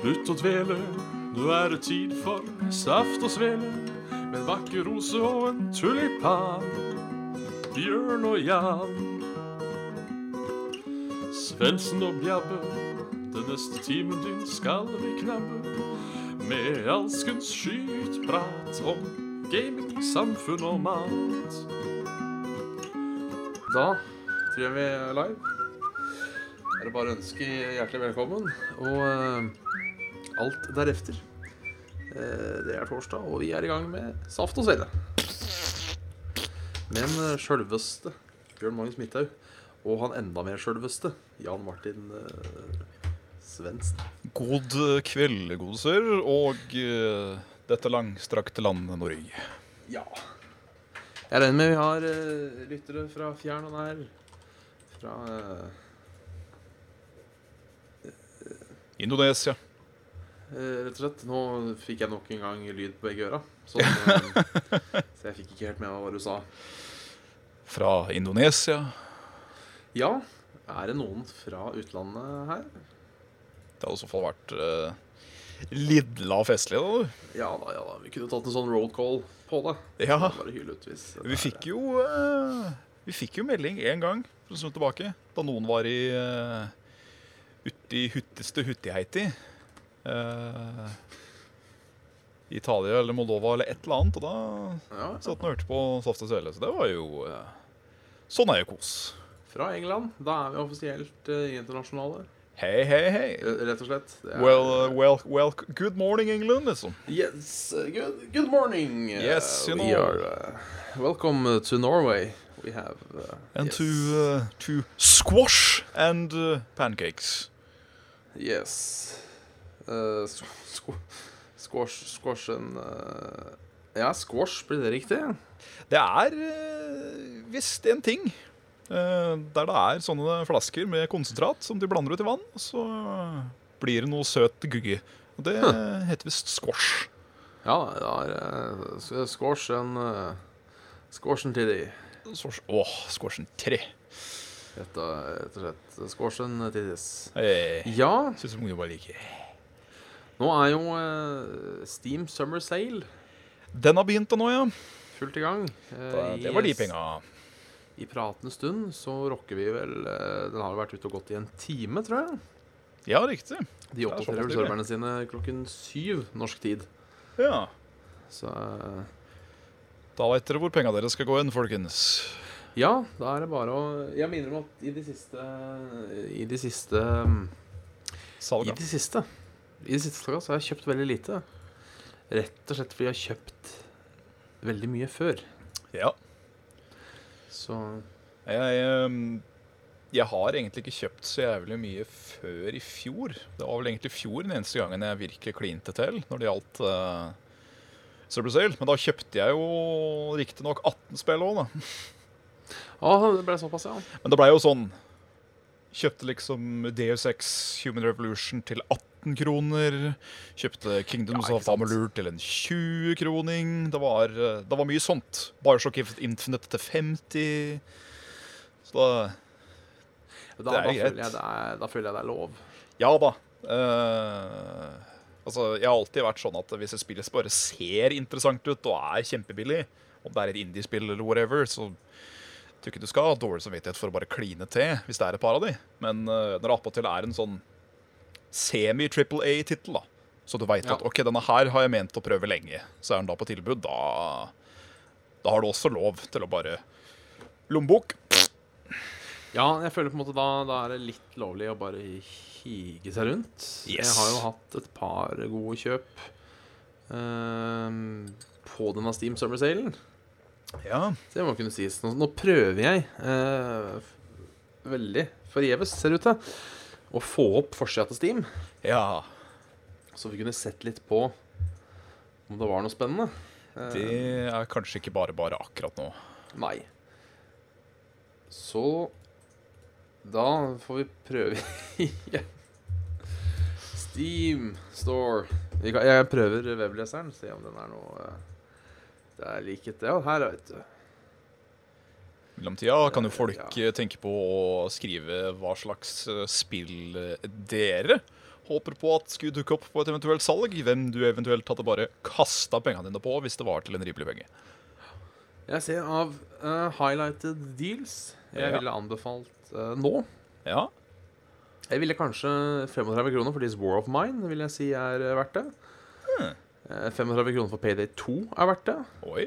Slutt å dvele, nå er det tid for saft og svele. Med en vakker rose og en tulipan. Bjørn og Jan. Svendsen og Bjabbe, den neste timen din skal vi knabbe. Med alskens skytprat om gaming, samfunn og mat. Da tror jeg vi er live. Er det bare å ønske hjertelig velkommen og eh, alt deretter. Eh, det er torsdag, og vi er i gang med Saft og Svele. Men uh, sjølveste Bjørn Magnus Midthaug, og han enda mer sjølveste Jan Martin uh, Svendsen. God kveld, gode sør, og eh, dette langstrakte landet Norge. Ja. Jeg regner med vi har eh, lyttere fra fjern og nær. Fra eh, Indonesia. Eh, Rett og slett, Nå fikk jeg nok en gang lyd på begge øra. Så, eh, så jeg fikk ikke helt med meg hva du sa. Fra Indonesia. Ja, er det noen fra utlandet her? Det hadde i så fall vært eh, lidla festlig, da, du. Ja da, ja da. Vi kunne tatt en sånn road call på det. Ja. Bare hyle ut hvis det Ah. Vi er- fikk jo, eh, vi fikk jo melding én gang for en stund tilbake, da noen var i uh, uti hutteste huttiheiti. eh, Italia eller Moldova eller et eller annet. Og da ja, satt han og hørte på Saft og Svele. Så det var jo eh, Sånn er jo kos. Fra England. Da er vi offisielt eh, internasjonale. Hei, hei, hei. eh, Rett og slett. Det er- Well, uh, well, well, good morning, England, liksom. Yes, uh, good, good morning. Uh, Yes, you We know. are uh, welcome uh, to Norway. We have uh, And yes, to, uh, to squash and uh, pancakes. Yes. Uh, squ- squ- squash Squashen uh, Ja, squash, blir det riktig? Det er eh, visst en ting eh, der det er sånne flasker med konsentrat som de blander ut i vann, og så blir det noe søt gugge. Og det heter visst squash. Ja, det er uh, s- squash and uh, Squashen tiddy. Squash- Åh, squashen tre. Rett og rett og slett. Squashen tiddies. Hey. Ja, Syns ungdommer Eh, bare liker det. nå er jo uh, Steam Summer Sale Den har begynt da nå, ja. fullt i gang. Uh, Det i- var de penga. I pratende stund så rocker vi vel uh, Den har jo vært ute og gått i en time, tror jeg. Ja, riktig. De er oppdaterer såpass vel tidlig. serverne sine klokken syv norsk tid. Ja. Så uh, Da veit dere hvor penga deres skal gå hen, folkens. Ja, da er det bare å Jeg minner om at i de siste I de siste I Salga. de siste I de siste slagene så har jeg kjøpt veldig lite. Rett og slett fordi jeg har kjøpt veldig mye før. Ja. Så Jeg, ehm, jeg har egentlig ikke kjøpt så jævlig mye før i fjor. Det var vel egentlig i fjor den eneste gangen jeg virkelig klinte til når det gjaldt uh, Sale. Men da kjøpte jeg jo riktignok 18 spill òg, da. Å, det ble såpass, ja. Men det blei jo sånn. Kjøpte liksom DU6 Human Revolution til 18 kroner. Kjøpte Kingdoms Ja, ikke of Amalur til en 20-kroning. Det, var, eh, det var mye sånt. Bioshock Infinite til 50. Så da Da, Det er da, greit. føler jeg det er, da føler jeg det er lov. Ja da. Eh, altså, jeg har alltid vært sånn at hvis et spill bare ser interessant ut og er kjempebillig, om det er et indiespill eller whatever, så tror jeg ikke du skal ha dårlig samvittighet for å bare kline til hvis det er et par av de. Men eh, når det attpåtil er en sånn semi-triple A-tittel, da, så du veit Ja. at OK, denne her har jeg ment å prøve lenge, så er den da på tilbud, da, da har du også lov til å bare Lommebok. Ja, jeg føler på en måte da, da er det litt lovlig å bare hige seg rundt. Jeg Yes. har jo hatt et par gode kjøp ehm, på denne Steam Summer Salen. Ja. Det må kunne sies. Nå, nå prøver jeg eh, f- veldig forgjeves, ser det ut til, å få opp forsida til Steam, ja. så vi kunne sett litt på om det var noe spennende. Eh, Det er kanskje ikke bare bare akkurat nå. Nei. Så da får vi prøve igjen. Steam Store. Vi kan, jeg prøver webleseren, se om den er noe eh, Det er likhet, det. Ja, her, vet du. mellomtida kan jo folk Ja. eh, tenke på å skrive hva slags eh, spill eh, dere Håper på at skulle dukke opp på et eventuelt salg, hvem du eventuelt hadde bare kasta pengene dine på hvis det var til en rimelig penge. Jeg ser av eh, highlighted deals jeg Ja. ville anbefalt eh, nå. Ja, Jeg ville kanskje 35 kroner for This War of Mine vil jeg si er eh, verdt det. Hmm. Eh, 35 kroner for Payday 2 er verdt det. oi.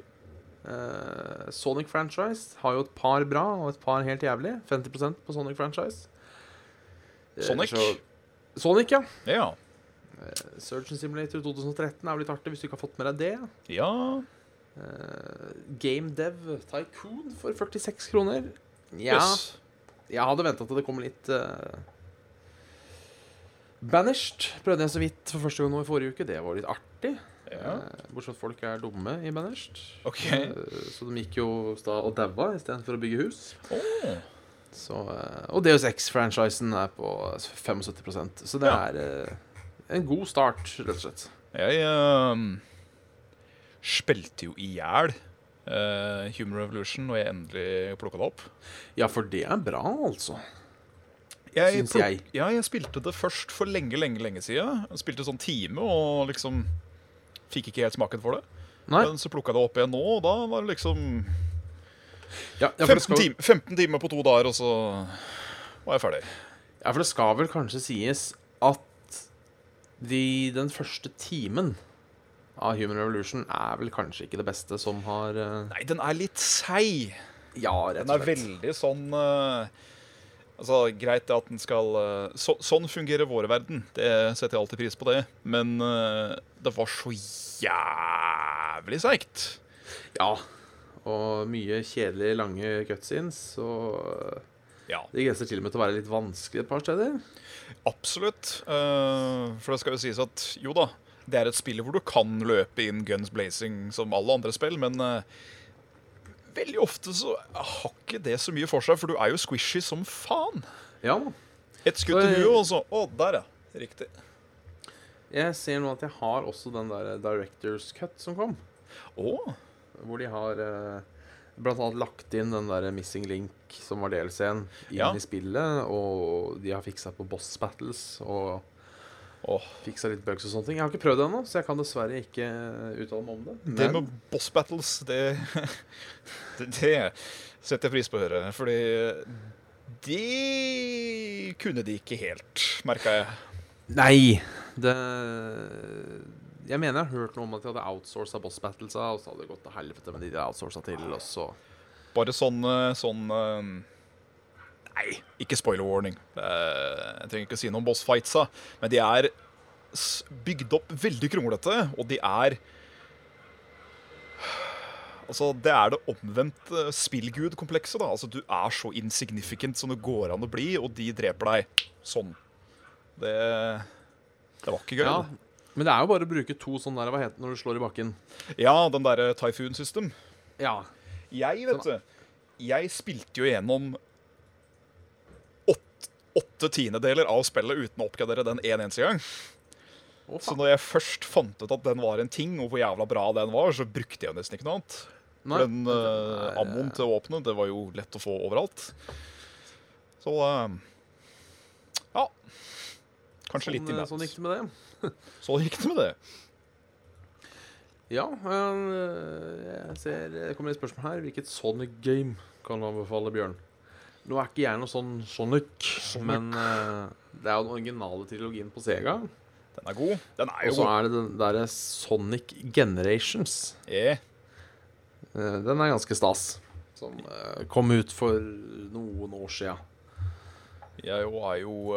Eh, Sonic franchise har jo et par bra og et par helt jævlig. 50 på Sonic franchise. Eh, Sonic. så- Sonic, ja. Ja. Surgeon Simulator 2013 er vel litt artig hvis du ikke har fått med deg det. Ja. Eh, Game Dev Tycoon for 46 kroner. Ja, Jøss. jeg hadde venta til det kom litt eh, Banished prøvde jeg så vidt for første gang nå i forrige uke. Det var litt artig. Ja. Eh, bortsett fra at folk er dumme i Banished. OK. Eh, så de gikk jo da og daua istedenfor å bygge hus. Åh. Så, eh, og Deus X-franchisen er på 75 så det Ja. er eh, en god start, rett og slett. Jeg ehm, spilte jo i hjel eh, Human Revolution når jeg endelig plukka det opp. Ja, for det er bra, altså. Jeg Syns pluk- jeg. Ja, jeg spilte det først for lenge, lenge lenge siden. Jeg spilte sånn time og liksom fikk ikke helt smaken for det. Nei, Men så plukka jeg det opp igjen nå, og da var det liksom ja, ja, for det 15, skal, tim 15 timer på to dager, og så var jeg ferdig. ja, for det skal vel kanskje sies at de, den første timen av Human Revolution er vel kanskje ikke det beste som har eh, Nei, den er litt seig. Ja, rett Den er og slett. veldig sånn eh, Altså, Greit det at den skal eh, så, Sånn fungerer vår verden. Det setter jeg alltid pris på, det. Men eh, det var så jævlig seigt. Ja. Og mye kjedelige, lange cutscenes, så eh, Ja. det grenser til og med til å være litt vanskelig et par steder. Absolutt. eh, for det skal jo sies at jo da, det er et spill hvor du kan løpe inn guns blazing som alle andre spill, men eh, veldig ofte så har ikke det så mye for seg, for du er jo squishy som faen. Ja, Et skudd Så- til huet, og så Å, der, ja. Riktig. Jeg ser nå at jeg har også den der eh, Directors Cut som kom. Å, Hvor de har eh, blant annet lagt inn den der Missing Link som var DLC-en, inn Ja. i spillet. Og de har fiksa på boss battles og Åh. fiksa litt bugs og sånne ting. Jeg har ikke prøvd det ennå, så jeg kan dessverre ikke eh, uttale meg om det. det med boss battles, det, det Det setter jeg pris på å høre, fordi det kunne de ikke helt, merka jeg. Nei! Det Jeg mener jeg har hørt noe om at de hadde outsourca boss battlesa, og så hadde det gått til helvete med de de outsourca til, og så Bare sånn, eh, sånn eh, Nei, ikke spoiler warning. Eh, Jeg trenger ikke si noe om bossfightsa, men de er s- bygd opp veldig kronglete, og de er Altså, Det er det omvendte spillgudkomplekset. da. Altså, Du er så insignificant som det går an å bli, og de dreper deg sånn. Det, det var ikke gøy. Ja. Men det er jo bare å bruke to sånne der, hva heter det, når du slår i bakken. ja den derre Typhoon System. Ja. Jeg, vet du Jeg spilte jo gjennom åtte, åtte tiendedeler av spillet uten å oppgradere den en eneste gang. Å, faen. Så når jeg først fant ut at den var en ting, og hvor jævla bra den var, så brukte jeg jo nesten ikke noe annet. Nei. For den uh, er- ammoen til våpenet, det var jo lett å få overalt. Så eh, Ja. Kanskje litt sånn, imens. sånn gikk det med det. Så gikk det med det. Ja, eh, jeg ser Det kommer et spørsmål her. Hvilket Sonic game kan du anbefale Bjørn? Nå er ikke jeg noe sånn Sonic, men eh, det er jo den originale trilogien på Sega. Den er god. Den er Og jo så god. er det den derre Sonic Generations. Eh, Eh, den er ganske stas. Som eh, kom ut for noen år sia. Jeg jo er jo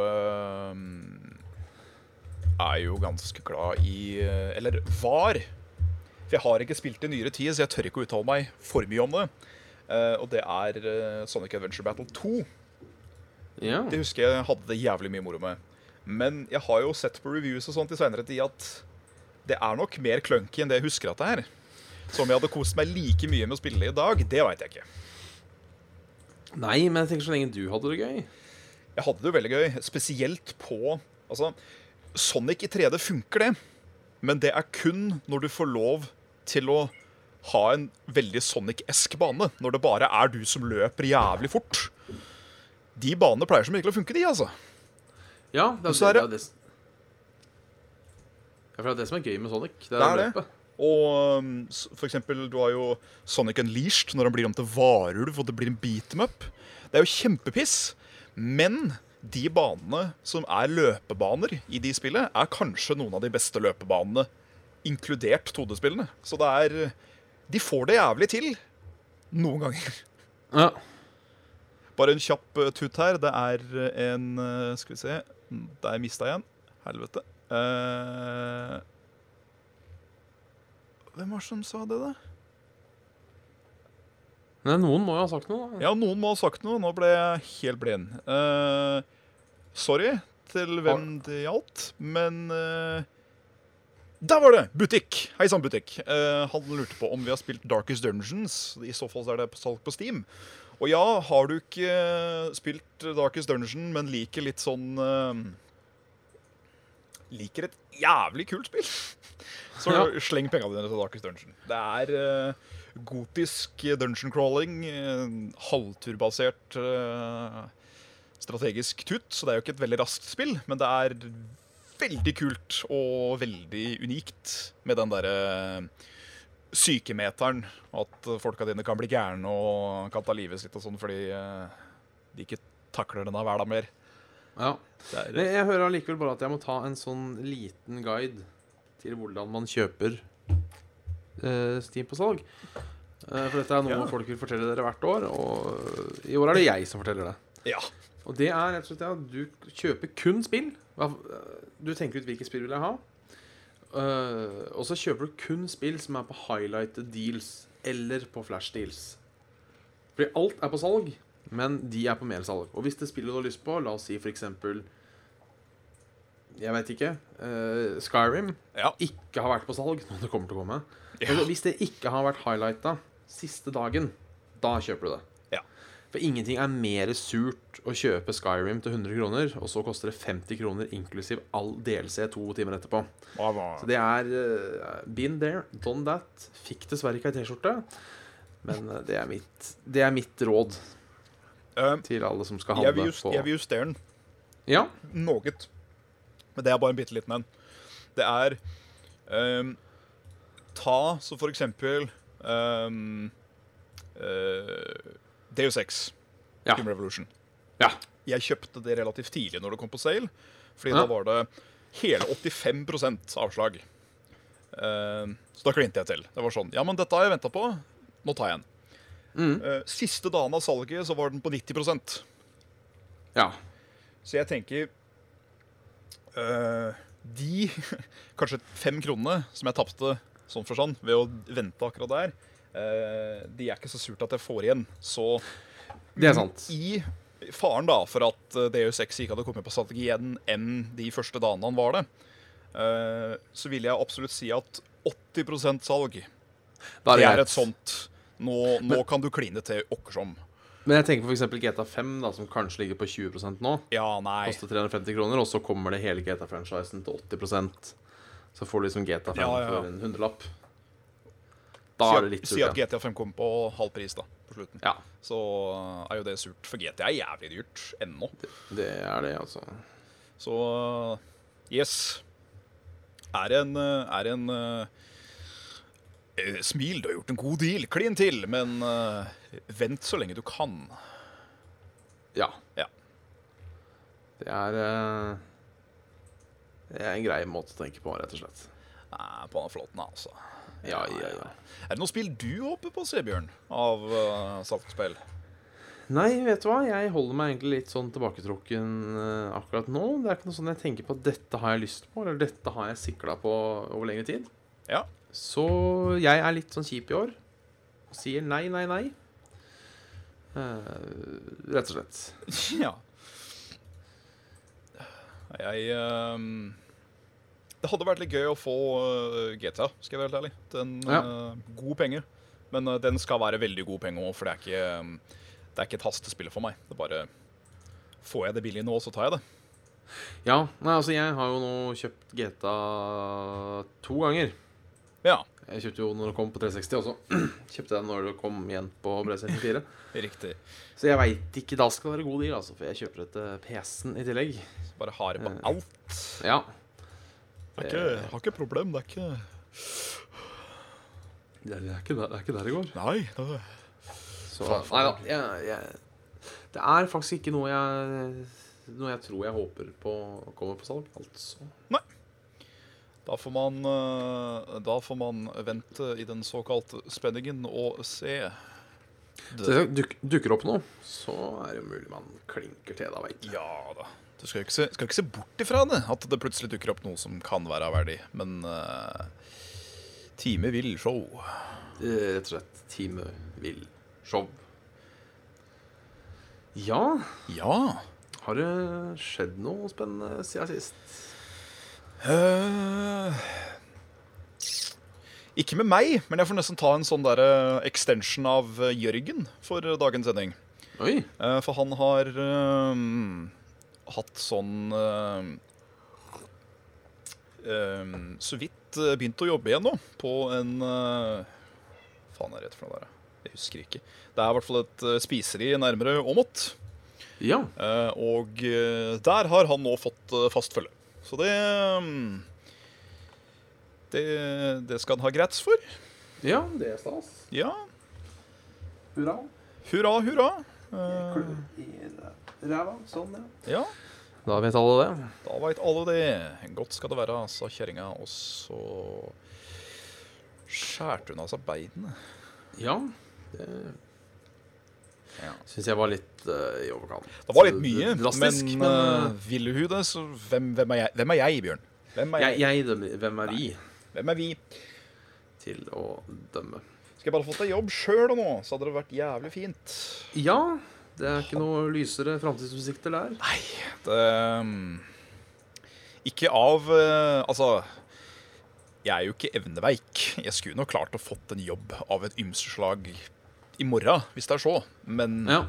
eh, Er jo ganske glad i eh, Eller var. For jeg har ikke spilt i nyere tid, så jeg tør ikke å uttale meg for mye om det. Eh, og det er eh, Sonic Adventure Battle 2. Ja. Det husker jeg hadde det jævlig mye moro med. Men jeg har jo sett på reviews og sånt i seinere tid at det er nok mer clunky enn det jeg husker at det er. Så om jeg hadde kost meg like mye med å spille i dag, det veit jeg ikke. Nei, men jeg tenker så lenge du hadde det gøy. Jeg hadde det jo veldig gøy, spesielt på Altså, Sonic i 3D funker, det. Men det er kun når du får lov til å ha en veldig Sonic-esk bane. Når det bare er du som løper jævlig fort. De banene pleier som regel å funke, de, altså. Ja, det, så er det- det, for det er det som er gøy med Sonic. Det er, Det er det. løpet. Og um, s- for eksempel, du har jo Sonic Unleashed når han blir om til varulv og det blir en beat 'em up. Det er jo kjempepiss. Men de banene som er løpebaner i de spillet, er kanskje noen av de beste løpebanene, inkludert 2D-spillene. Så det er De får det jævlig til noen ganger. Ja. Bare en kjapp eh, tut her. Det er eh, en eh, Skal vi se. Mm, Der mista jeg en. Helvete. Eh, hvem var det som sa det, da? Men noen må jo ha sagt noe, da. Ja, noen må ha sagt noe. Nå ble jeg helt blind. Eh, sorry til hvem det gjaldt, men eh, Der var det! Butikk. Hei sann, butikk. Eh, han lurte på om vi har spilt Darkest Dungeons. I så fall så er det på salg på Steam. Og ja, har du ikke eh, spilt Darkest Dungeon, men liker litt sånn eh, Liker et jævlig kult spill, så Ja. sleng pengene dine til Darkest Dungeon. Det er eh, gotisk dungeon crawling, eh, halvturbasert eh, strategisk tut, så det er jo ikke et veldig raskt spill, men det er veldig kult og veldig unikt med den derre sykemeteren, at folka dine kan bli gærne og kan ta livet sitt og sånn fordi eh, de ikke takler denne hverdagen mer. Ja. Det er, Men jeg hører allikevel bare at jeg må ta en sånn liten guide til hvordan man kjøper eh, Steam på salg. Eh, for dette er noe Ja. folk vil fortelle dere hvert år, og i år er det jeg som forteller det. ja. Og det er rett og slett det at du kjøper kun spill. Hva- eh, Du tenker ut hvilket spill vil jeg ha. Eh, og så kjøper du kun spill som er på highlighted deals eller på flash deals. Fordi alt er på salg, men de er på mersalg. Og hvis det spillet du har lyst på, la oss si f.eks. Jeg vet ikke. eh, Skyrim Ja. ikke har vært på salg når det kommer til å komme. Ja. Men hvis det ikke har vært highlighta siste dagen, da kjøper du det. Ja. For ingenting er mer surt å kjøpe Skyrim til 100 kroner, og så koster det 50 kroner inklusiv all DLC to timer etterpå. Hva var- Så det er eh, been there, done that. Fikk dessverre ikke ei T-skjorte. Men eh, det er, mitt, det er mitt råd Eh, til alle som skal jeg, vil handle. just, jeg vil justere den. Ja, noe. Men det er bare en bitte liten en. Det er ehm, Ta så for eksempel um, eh, Deus Ex, Ja. Human Revolution. Ja. Jeg kjøpte det relativt tidlig når det kom på sale, fordi Ja. da var det hele 85 avslag. Ehm, så da klinte jeg til. Det var sånn Ja, men dette har jeg venta på. Nå tar jeg en. Mm. Eh, siste dagen av salget så var den på 90 ja. så jeg tenker øh, De kanskje fem kronene som jeg tapte sånn for sånn ved å vente akkurat der, øh, de er ikke så surt at jeg får igjen. Så Det er sant. i faren da for at eh, DU6 ikke hadde kommet på strategien enn de første dagene han var det, eh, så vil jeg absolutt si at 80 salg, Da det er greit. et sånt Nå, nå kan du kline til åkkersom. Men jeg tenker f.eks. GTA5, da, som kanskje ligger på 20 nå. Ja, nei. Koster 350 kroner, og så kommer det hele GTA-franchisen til 80 Så får du liksom GTA 5 Ja, ja, ja. for en hundrelapp. Da Si er at- det litt Si at surt. igjen. GTA 5 kommer på halv pris da, på slutten. Ja, så er jo det surt. For GT er jævlig dyrt ennå. det er det, altså. Så yes. Er en, eh, er en eh, eh, Smil, du har gjort en god deal. Klin til, men eh, vent så lenge du kan. Ja. Ja. Det er eh, Det er en grei måte å tenke på, rett og slett. Nei, på den flåten, altså. Ja, ja, ja. Er det noe spill du håper på, Sebjørn? Av uh, salgspill? Nei, vet du hva? Jeg holder meg egentlig litt sånn tilbaketrukken eh, akkurat nå. Det er ikke noe sånn jeg tenker på at dette har jeg lyst på, eller dette har jeg sikla på over lengre tid. Ja. Så jeg er litt sånn kjip i år og sier nei, nei, nei. Eh, rett og slett. Ja. Jeg ehm, Det hadde vært litt gøy å få eh, GTA, skal jeg være helt ærlig. Den Ja. eh, God penge. Men eh, den skal være veldig god penge òg, for det er, ikke, ehm, det er ikke et hastespill for meg. Det er bare Får jeg det billig nå, så tar jeg det. Ja, nei, altså jeg har jo nå kjøpt GTA to ganger. Ja, Jeg kjøpte jo når det kom på 360 også. Kjøpte den når det kom igjen på PlayStation 4. riktig. Så jeg veit ikke. Da skal det være god deal, altså, for jeg kjøper det til PC-en i tillegg. Så bare har jeg på Eh. alt. Ja. Det er ikke, har ikke problem, det er ikke Det er, det er, ikke, der, det er ikke der det går. Nei. Det, Så, nei da. Jeg, jeg, det er faktisk ikke noe jeg, noe jeg tror jeg håper på kommer på salg. Altså. da, får man, eh, da får man vente i den såkalte spenningen og se. Så hvis det duk, dukker opp noe, så er det jo mulig man klinker til. da, vet du. Ja da. Du skal jo ikke se, skal ikke se bort ifra det, at det plutselig dukker opp noe som kan være av verdi. Men eh, time vil show. Eh, Rett og slett Time Vill Show. Ja, Ja. har det skjedd noe spennende siden sist? Eh, ikke med meg, men jeg får nesten ta en sånn der, eh, extension av eh, Jørgen for eh, dagens sending. Oi. Eh, for han har eh, hatt sånn eh, eh, Så vidt eh, begynt å jobbe igjen nå, på en eh, Faen, er det for noe der? eh? Jeg husker ikke. Det er i hvert fall et eh, spiseri nærmere Åmot. Ja. Eh, Og eh, der har han nå fått eh, fast følge. Så det mm, det, det skal han ha grats for. ja, det er stas. Ja. Hurra. Hurra, hurra. Eh, Ræva. Sånn, ja. Ja, Da vet alle det. da veit alle det. Godt skal det være, sa kjerringa. Og så skjærte hun av seg beinene. Ja. Det Ja. syns jeg var litt eh, i overkant. Det var litt mye, Drastisk, men, men, eh, ville hun det, så hvem, hvem, er jeg, hvem er jeg, Bjørn? Hvem er jeg, jeg? jeg dømmer. Hvem er vi Hvem er vi? til å dømme? Skal jeg bare fått deg jobb sjøl nå, så hadde det vært jævlig fint. Ja, det er ikke noe lysere framtidsutsikter der. Nei, det mm, Ikke av eh, Altså, jeg er jo ikke evneveik. Jeg skulle nok klart å fått en jobb av et ymse slag i morgen, hvis det er så. Men Ja.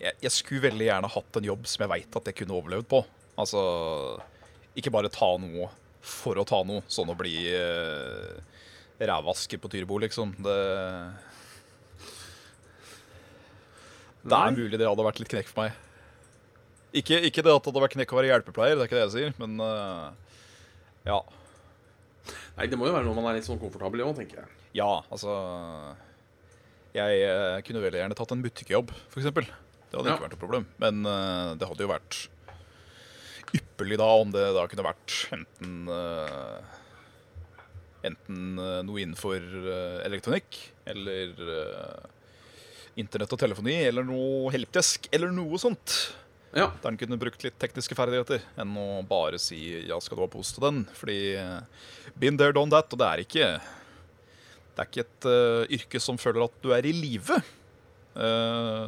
jeg, jeg skulle veldig gjerne hatt en jobb som jeg veit at jeg kunne overlevd på. Altså ikke bare ta noe for å ta noe, sånn å bli eh, rævaske på Tyrbo, liksom. Det Det Nei. er mulig det hadde vært litt knekk for meg. Ikke, ikke det at det hadde vært knekk å være hjelpepleier, det er ikke det jeg sier, men eh, ja. Nei, det må jo være noe man er litt sånn komfortabel i òg, tenker jeg. Ja, altså Jeg eh, kunne veldig gjerne tatt en butikkjobb, f.eks. Det hadde Ja. ikke vært noe problem. Men eh, det hadde jo vært ypperlig da om det da kunne vært enten eh, Enten eh, noe innenfor eh, elektronikk eller eh, internett og telefoni eller noe helpdesk eller noe sånt. Ja. Der en kunne brukt litt tekniske ferdigheter enn å bare si ja, skal du ha pose til den? Fordi eh, been there, done that, og det er ikke Det er ikke et eh, yrke som føler at du er i live. Eh,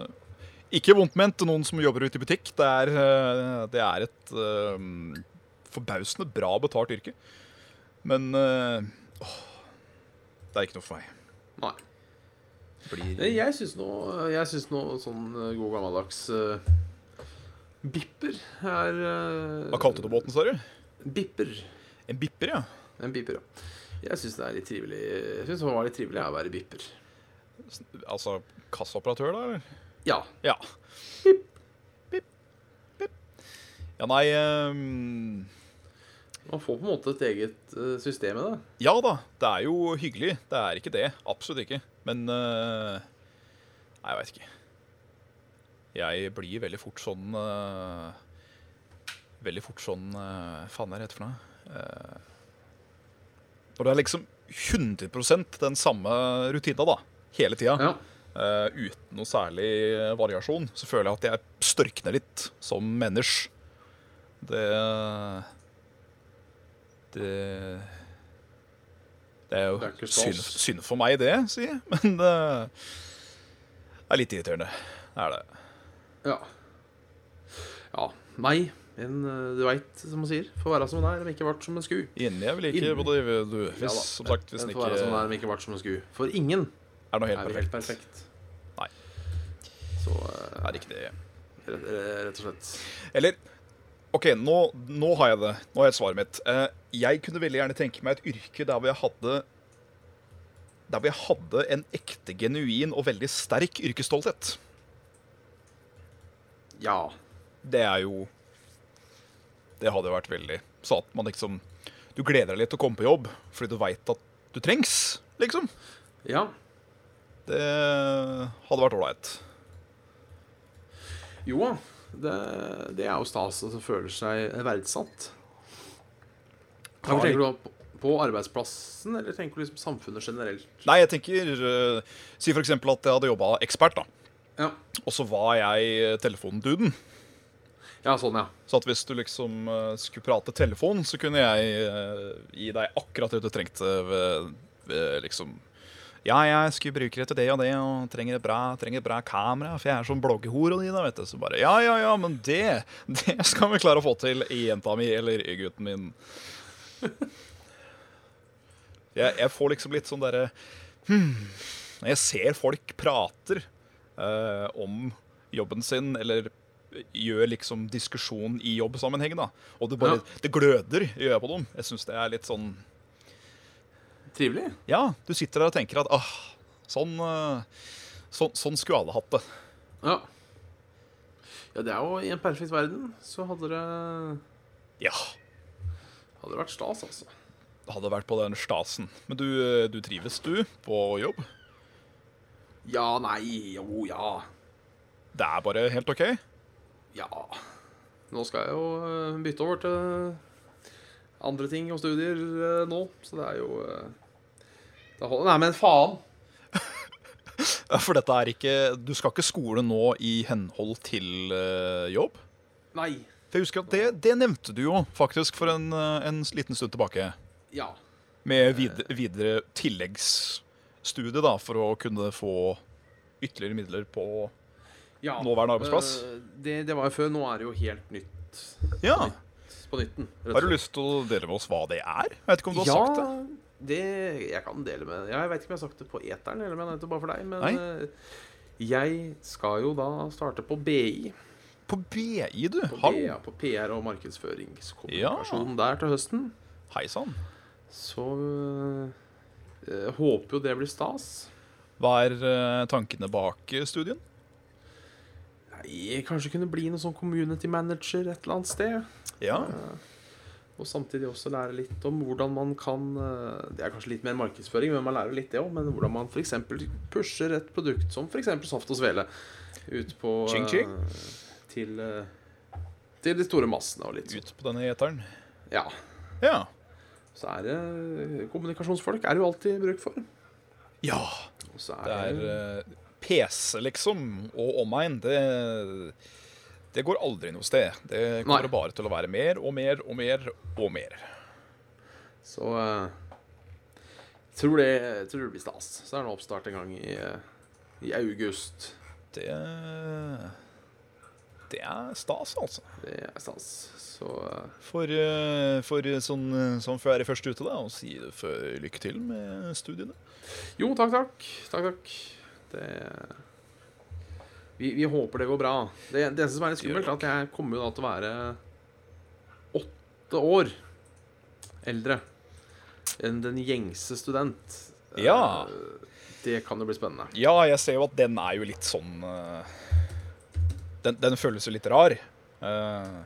ikke vondt ment til noen som jobber ute i butikk. Det er, eh, det er et eh, forbausende bra betalt yrke. Men eh, åh, det er ikke noe for meg. Nei. Blir Men Jeg syns nå Jeg syns nå sånn eh, god gammeldags eh, Bipper er eh, Hva kalte du båten, sa du? Bipper. En bipper, ja. En bipper, ja. Jeg syns det er litt trivelig Jeg synes det var litt trivelig å være bipper. Altså kassaoperatør, da? eller? Ja. Ja. Pip, pip. Ja, nei ehm, Man får på en måte et eget eh, system i det. Ja da, det er jo hyggelig. Det er ikke det. Absolutt ikke. Men eh, Nei, jeg veit ikke. Jeg blir veldig fort sånn eh, Veldig fort sånn eh, Faen, hva er det heter for noe? Eh, når det er liksom 100 den samme rutina, da. Hele tida. Ja. eh, uten noe særlig eh, variasjon, så føler jeg at jeg størkner litt som menneske. Det Det Det er jo Det er ikke synd, stas. synd for meg, det, sier jeg, men eh, det er litt irriterende. Det er det. Ja. ja. Nei. Men eh, du veit, som man sier. Får være som man er, men ikke vart som en sku. Inni jeg vil ikke Inni. bedrive du, Ja hvis, da, som sagt, hvis men den får ikke være som man er, er men ikke vart som en sku. For ingen noe helt er helt perfekt. perfekt. Nei. Så Det eh, er ikke det. rett, rett og slett Eller OK, nå, nå har jeg det. Nå har jeg svaret mitt. Eh, jeg kunne veldig gjerne tenke meg et yrke der hvor jeg hadde Der hvor jeg hadde en ekte, genuin og veldig sterk yrkesstolthet. Ja. Det er jo Det hadde jo vært veldig Så at man liksom Du gleder deg litt til å komme på jobb fordi du veit at du trengs, liksom. Ja. Det hadde vært ålreit. Jo da. Det, det er jo stas at du føler seg verdsatt. Ja, Har hvor tenker litt- du da på- på arbeidsplassen, eller tenker du liksom samfunnet generelt? Nei, jeg tenker eh, Si for eksempel at jeg hadde jobba ekspert, da. Ja, Og så var jeg telefonduden. ja sånn, ja. Så at hvis du liksom eh, skulle prate telefon, så kunne jeg eh, gi deg akkurat det du trengte ved, ved liksom Ja, jeg skulle bruke det til det og det, og trenger et bra, trenger et bra kamera, for jeg er sånn bloggehore og de da, vet du. Så bare Ja, ja, ja, men det, det skal vi klare å få til, jenta mi eller gutten min. Jeg, jeg får liksom litt sånn derre hmm, Når jeg ser folk prater eh, om jobben sin, eller gjør liksom diskusjon i jobbsammenheng, da. Og det bare Det gløder, gjør jeg på dem. Jeg syns det er litt sånn Trivelig. Ja, du sitter der og tenker at ah, sånn, eh, sånn, sånn skulle alle hatt det. Ja. ja, det er jo i en perfekt verden, så hadde det, Ja. hadde det vært stas, altså. Det hadde vært på den stasen. Men du, eh, du trives, du, på jobb? Ja, nei, jo, ja. Det er bare helt OK? Ja. Nå skal jeg jo eh, bytte over til eh, andre ting og studier eh, nå, så det er jo eh, det holder. Nei, men faen! Ja, For dette er ikke Du skal ikke skole nå i henhold til eh, jobb? Nei. For jeg husker at det, det nevnte du jo faktisk for en, eh, en liten stund tilbake. Ja. Med videre, videre tilleggsstudie, da, for å kunne få ytterligere midler på ja. Nåværende arbeidsplass? Eh, Det, det var jo før. Nå er det jo helt nytt Ja! på nytten. rett og Har du slett. lyst til å dele med oss hva det er? Jeg vet ikke om du har ja, sagt det. det jeg kan dele med ja, Jeg vet ikke om jeg har sagt det på eteren eller om jeg har nevnt det bare for deg, men Nei. eh, jeg skal jo da starte på BI. På BI, du. På, Hallo. BA, på PR og markedsføringskommunikasjon der til høsten. Hei sann. Så eh, eh, håper jo det blir stas. Hva er eh, tankene bak eh, studien? Nei, kanskje kunne bli noe sånn community manager et eller annet sted. Ja. Og samtidig også lære litt om hvordan man kan eh, Det er kanskje litt mer markedsføring, men man lærer litt det òg. Men hvordan man f.eks. pusher et produkt som f.eks. Saft og Svele ut på eh, Ching, ching. Til, eh, til de store massene og litt sånn. Ut på denne gjeteren. Ja. Ja. Så er det eh, Kommunikasjonsfolk er det jo alltid bruk for. Ja. Og så Det er er det eh, PC, liksom, og omegn, det det går aldri noe sted. Det kommer Nei. bare til å være mer og mer og mer og mer. Så eh, tror, det, tror det blir stas. Så er det en oppstart en gang i, eh, i august. Det Det er stas, altså. Det er stas. Så eh, For, eh, for eh, sånn eh, som før er først ute, da, og si det for lykke til med studiene. Jo, takk, takk. Takk, takk. Det vi, vi håper det går bra. Det, det eneste som er litt skummelt, er at jeg kommer jo da til å være åtte år eldre enn den gjengse student. Ja. Eh, Det kan jo bli spennende. Ja, jeg ser jo at den er jo litt sånn eh, Den, den føles jo litt rar. Eh,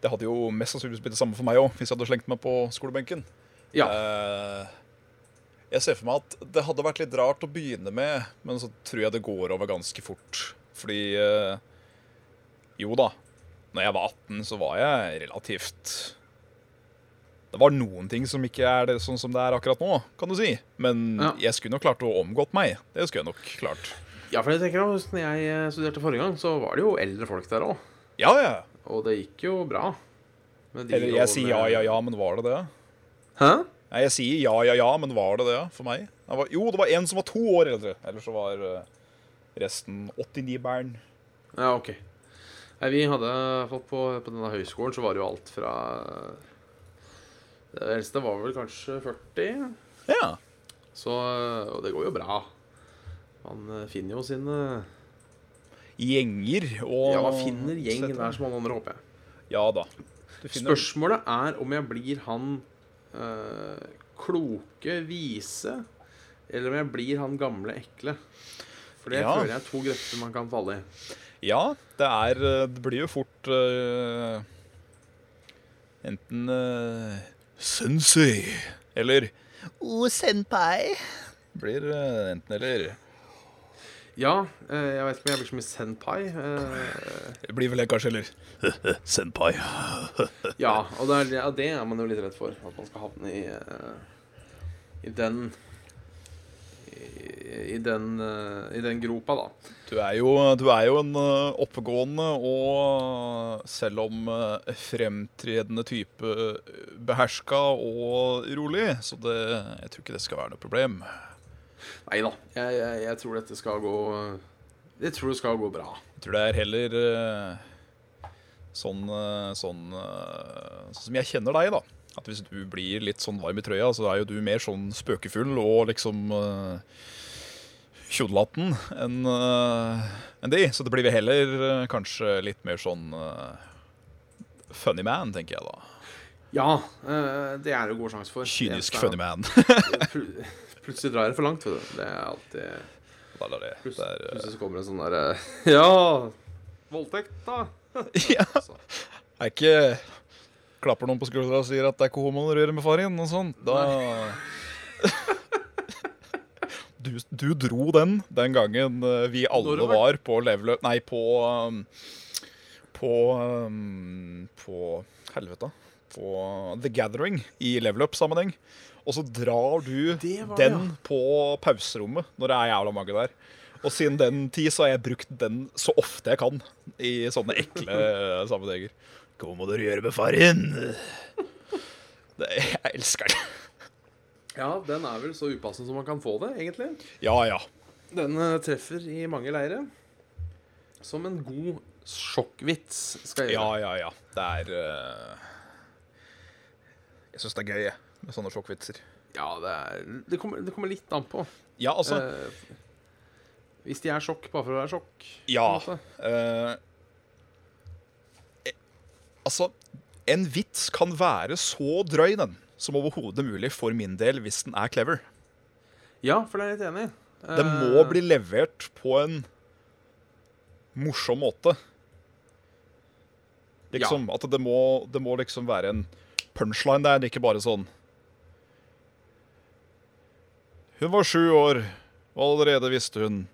Det hadde jo mest sannsynligvis blitt det samme for meg òg, hvis jeg hadde slengt meg på skolebenken. Ja. Eh, Jeg ser for meg at det hadde vært litt rart å begynne med, men så tror jeg det går over ganske fort. Fordi eh, Jo da, når jeg var 18, så var jeg relativt Det var noen ting som ikke er det, sånn som det er akkurat nå, kan du si. Men Ja. jeg skulle nok klart å omgått meg. Det skulle jeg nok klart. ja, for jeg tenker også, når jeg eh, studerte forrige gang, så var det jo eldre folk der òg. Ja, ja. Og det gikk jo bra. Med de Eller og jeg sier ja, med- ja, ja, men var det det? Hæ? Nei, jeg sier ja, ja, ja, men var det det for meg? Det var, jo, det var en som var to år eldre. Ellers så var eh, resten 89-bæren. Ja, ok. Nei, vi hadde på, på på denne høyskolen så var det jo alt fra Det eldste var vel kanskje 40, Ja. så Og det går jo bra. Man eh, finner jo sine Gjenger og Ja, man finner gjeng der som alle andre, håper jeg. Ja da. Du finner, Spørsmålet er om jeg blir han eh, kloke, vise, eller om jeg blir han gamle, ekle. For det Ja. føler jeg er to grøfter man kan falle i. Ja, det er eh, Det blir jo fort eh, enten eh, Sensei eller O senpai. Blir eh, enten eller. Ja, eh, jeg vet ikke om jeg blir så mye senpai. eh, Blir vel det kanskje eller Senpai. Ja, og det er, ja, det er man jo litt redd for. At man skal havne i, eh, i den i, i den eh, I den gropa, da. Du er jo, du er jo en eh, oppegående og selv om eh, fremtredende type eh, beherska og rolig, så det, jeg tror ikke det skal være noe problem. Nei da. Jeg, jeg, jeg tror dette skal gå Jeg tror det skal gå bra. Jeg tror det er heller eh, sånn, eh, sånn, eh, sånn som jeg kjenner deg, da. At hvis du blir litt sånn varm i trøya, så er jo du mer sånn spøkefull og liksom eh, kjodelatten enn eh, enn de. Så det blir vel heller eh, kanskje litt mer sånn eh, funny man, tenker jeg da. Ja, eh, det er det god sjanse for. Kynisk Det funny eneste er man. at pl- Plutselig drar det for langt, vet du. Det er alltid Da er det, det Plutselig, er, eh, plutselig så kommer det en sånn derre Ja! Voldtekt, da! eh, ja, Altså, er ikke Klapper noen på skuldra og sier at det er ikke homoen å røre med far din og sånn. Da du, du dro den den gangen eh, vi alle Nordover. var på level up Nei, på um, På um, På Helvete. På The Gathering i level up-sammenheng. Og så drar du Det var det, den på pauserommet når det er jævla mange der. Og siden den tid så har jeg brukt den så ofte jeg kan i sånne ekle sammenhenger. Hva må dere gjøre med faren? Det, jeg elsker det. ja, den er vel så upassende som man kan få det, egentlig. Ja, ja. Den eh, treffer i mange leire. Som en god sjokkvits skal jeg Ja, gjøre. ja, ja. Det er eh, Jeg syns det er gøy, jeg, med sånne sjokkvitser. Ja, det, er, det, kommer, det kommer litt an på. Ja, altså Eh, hvis de er sjokk bare for å være sjokk. på en Ja. måte. eh, eh, Altså, en vits kan være så drøy, den, som overhodet mulig for min del, hvis den er clever. ja for det er jeg litt enig. i. Det må Eh, bli levert på en morsom måte. Liksom, At det må, det må liksom være en punchline der, ikke bare sånn Hun var sju år, og allerede visste hun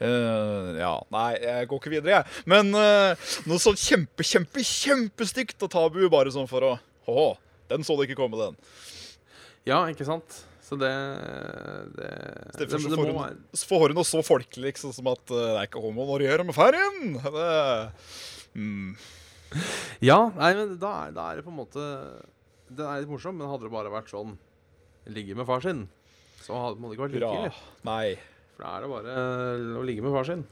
eh, ja, Nei, jeg går ikke videre, jeg. Men eh, noe sånn kjempe, kjempe, kjempestygt og tabu, bare sånn for å Åh, den så du ikke komme, den. Ja, ikke sant? Så det Det, det, Derfor så det må får hun, være så får hun noe så folkelig liksom, som at eh, det er ikke homo når du gjør det med ferien. Det, mm. Ja, nei, men da er, da er det på en måte Den er litt morsom, men hadde det bare vært sånn Ligge med far sin, så hadde må det ikke vært like Bra. ille. Nei. For da er det bare eh, å ligge med far sin.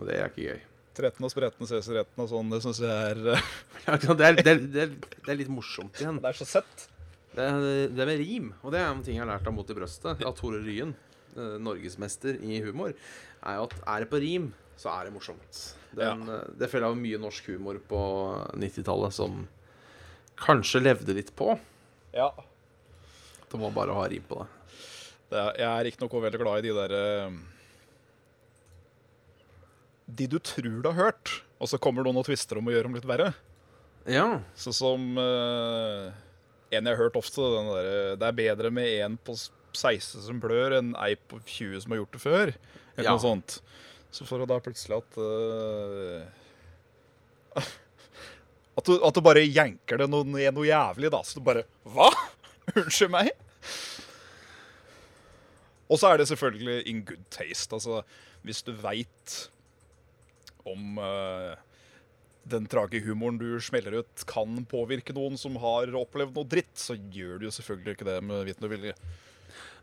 Og det er ikke gøy. 13 og spretten ses i retten og sånn. Det syns jeg er eh, Ja, ikke sant? Det er, det, er, det, er, det er litt morsomt igjen. Det er så sett. Det er, det er med rim, og det er en ting jeg har lært av Mot i brøstet. Av Tore Ryen, eh, norgesmester i humor, er jo at er det på rim, så er det morsomt. Den, eh, Det føler jeg var mye norsk humor på 90-tallet som kanskje levde litt på. Ja. Det var bare å ha rim på det. Det er, jeg er ikke noe veldig glad i de derre De du tror du har hørt, og så kommer noen og tvister om å gjøre dem litt verre. Ja. Sånn som eh, en jeg har hørt ofte, den derre Det er bedre med en på s- 16 som blør, enn ei på 20 som har gjort det før. Eller Ja. noe sånt. Så får du da plutselig at eh, at, du, at du bare jenker det noe, ned noe jævlig, da. Så du bare Hva?! Unnskyld meg? Og så er det selvfølgelig in good taste. Altså, hvis du veit om eh, den trage humoren du smeller ut, kan påvirke noen som har opplevd noe dritt, så gjør du jo selvfølgelig ikke det med viten og vilje.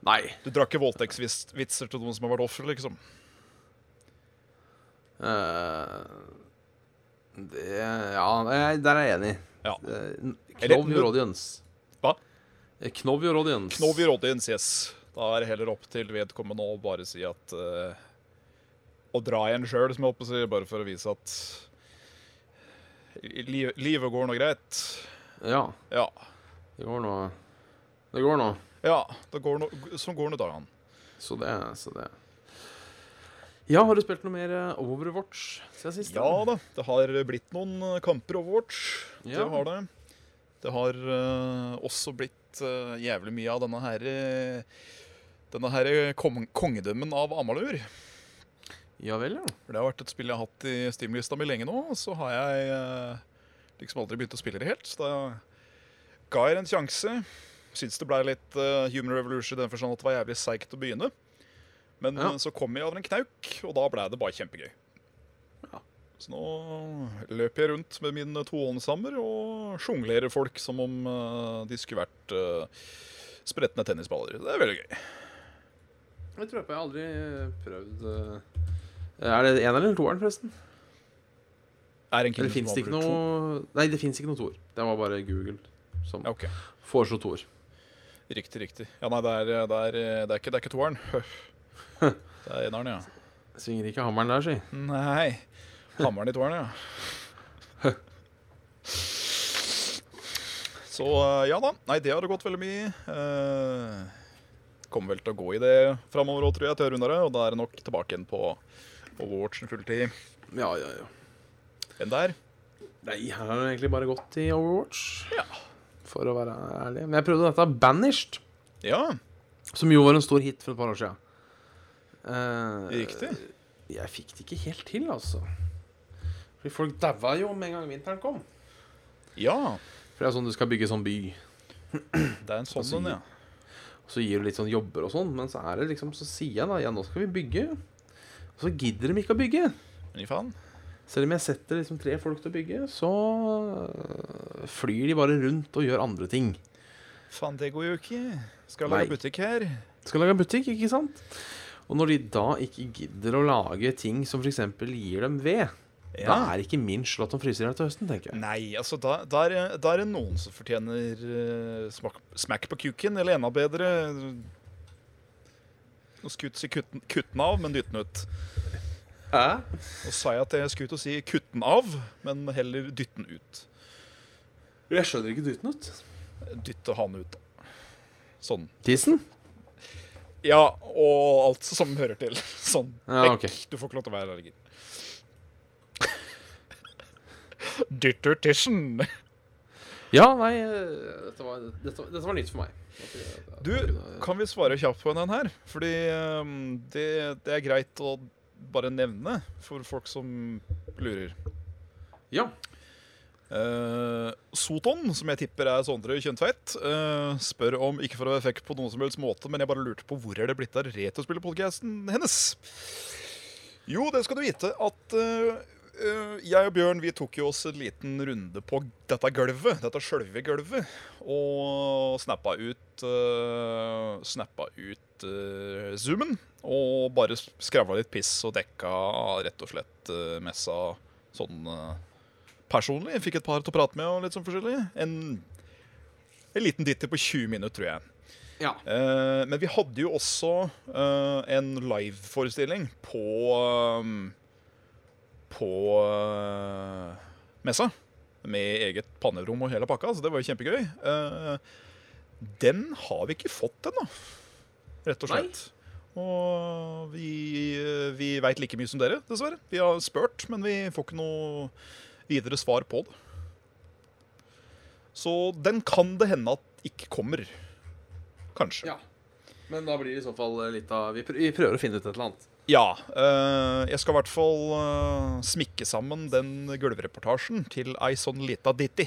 Nei. Du drar ikke voldtektsvitser til noen som har vært offer, liksom. eh, det, ja, nei, der er jeg enig. Ja. Eh, Eller- Knov Jorodians. Hva? Knov Jorodians. Knov i rådens, yes. Da er det heller opp til vedkommende å bare si at eh, Å dra igjen sjøl, som jeg håper å si, bare for å vise at li livet går nå greit. Ja. Ja. Det går nå. Det går nå. Ja, det går no sånn går nå dagene. Så det, så det. Ja, har du spilt noe mer eh, Overwatch siden sist? Ja da, det har blitt noen eh, kamper Overwatch. Ja. Det har det. Det har eh, også blitt eh, jævlig mye av denne her eh, Denne her kong kongedømmen av Amalur. Ja vel, ja. For det har vært et spill jeg har hatt i Steam-lista mi lenge nå. og Så har jeg eh, liksom aldri begynt å spille det helt. Så da ga jeg det en sjanse. Syns det ble litt eh, Human Revolution i den forstand at det var jævlig seigt å begynne. Men Ja. eh, så kom jeg over en knauk, og da ble det bare kjempegøy. Ja. Så nå løper jeg rundt med min eh, tohåndshammer og sjonglerer folk som om eh, de skulle vært eh, spretne tennisballer. Det er veldig gøy. Jeg tror på jeg har aldri prøvd eh, Er det en eller toeren, forresten? Er Eller en Kingdom fins det ikke Come to. noe Nei, det fins ikke noe toer. Det var bare Google som Ja, ok. foreslo toer. Riktig, riktig. Ja, nei, det er, eh, det er, det er, ikke, det er ikke toeren. Det er eneren, ja. Svinger ikke hammeren der, si. Nei. Hammeren i toeren, ja. Så eh, ja da. Nei, det har det gått veldig mye i. Eh, Kommer vel til å gå i det framover òg, tror jeg, til rundere. Og da er det nok tilbake igjen på Overwatchen fulltid Ja, ja, ja. enn der. Nei, her har det egentlig bare gått i Overwatch. Ja. For å være ærlig. Men jeg prøvde dette Banished, Ja, som jo var en stor hit for et par år siden. Eh, riktig. Jeg fikk det ikke helt til, altså. Fordi folk daua jo med en gang vinteren kom. Ja, For det er sånn du skal bygge sånn by, det er en sånn en, ja. og så gir du litt sånn jobber og sånn, men så er det liksom Så sier jeg da ja, nå skal vi bygge. Og så gidder de ikke å bygge. Men i faen. Selv om jeg setter liksom tre folk til å bygge, så øh, flyr de bare rundt og gjør andre ting. Faen, det går jo ikke. Skal Nei. lage butikk her. skal lage butikk, ikke sant? Og når de da ikke gidder å lage ting som f.eks. gir dem ved, da Ja. er ikke min slått om fryseren til høsten, tenker jeg. Nei, altså da, da, er, det- da er det noen som fortjener eh, smak, smack på kuken, eller enda bedre Nå skulle jeg si kutten, 'kutten av', men dytten ut. Nå sa jeg at jeg skulle til å si 'kutten av', men heller dytten ut. Jeg skjønner ikke dytten ut. Dytte han ut, da. Sånn. Tissen? Ja, og alt som hører til. Sånn. Ja, ok. Ekk, Du får ikke lov til å være der, gitt. Dytter tissen. Ja, nei øh, Dette var, dette, dette var nytt for meg. At jeg- at Du, jeg kunne- kan vi svare kjapt på den her? Fordi ehm, det, det er greit å bare nevne for folk som lurer. Ja. Eh, Soton, som jeg tipper er Sondre Kjøntveit, eh, spør om ikke for å være fekk på noen som helst måte, men jeg bare lurte på hvor er det blitt av retrospillerpodkasten hennes? Jo, det skal du vite at eh, eh, jeg og Bjørn vi tok jo oss en liten runde på dette gulvet, dette sjølve gulvet, og snappa ut eh, Snappa ut eh, zoomen og bare skravla litt piss og dekka rett og slett eh, messa sånn eh, personlig. Jeg fikk et par til å prate med og litt sånn forskjellig. En, en liten ditto på 20 minutter, tror jeg. ja. Eh, men vi hadde jo også eh, en liveforestilling på eh, På eh, messa. Med eget pannerom og hele pakka, så det var jo kjempegøy. Eh, den har vi ikke fått ennå, rett og Nei. slett. Og vi, eh, vi veit like mye som dere, dessverre. Vi har spurt, men vi får ikke noe videre svar på det. Så den kan det hende at ikke kommer. Kanskje. ja. Men da blir det i så fall eh, litt av Vi prø- vi prøver å finne ut et eller annet. Ja. eh, jeg skal i hvert fall eh, smikke sammen den gulvreportasjen til ei sånn lita ditti.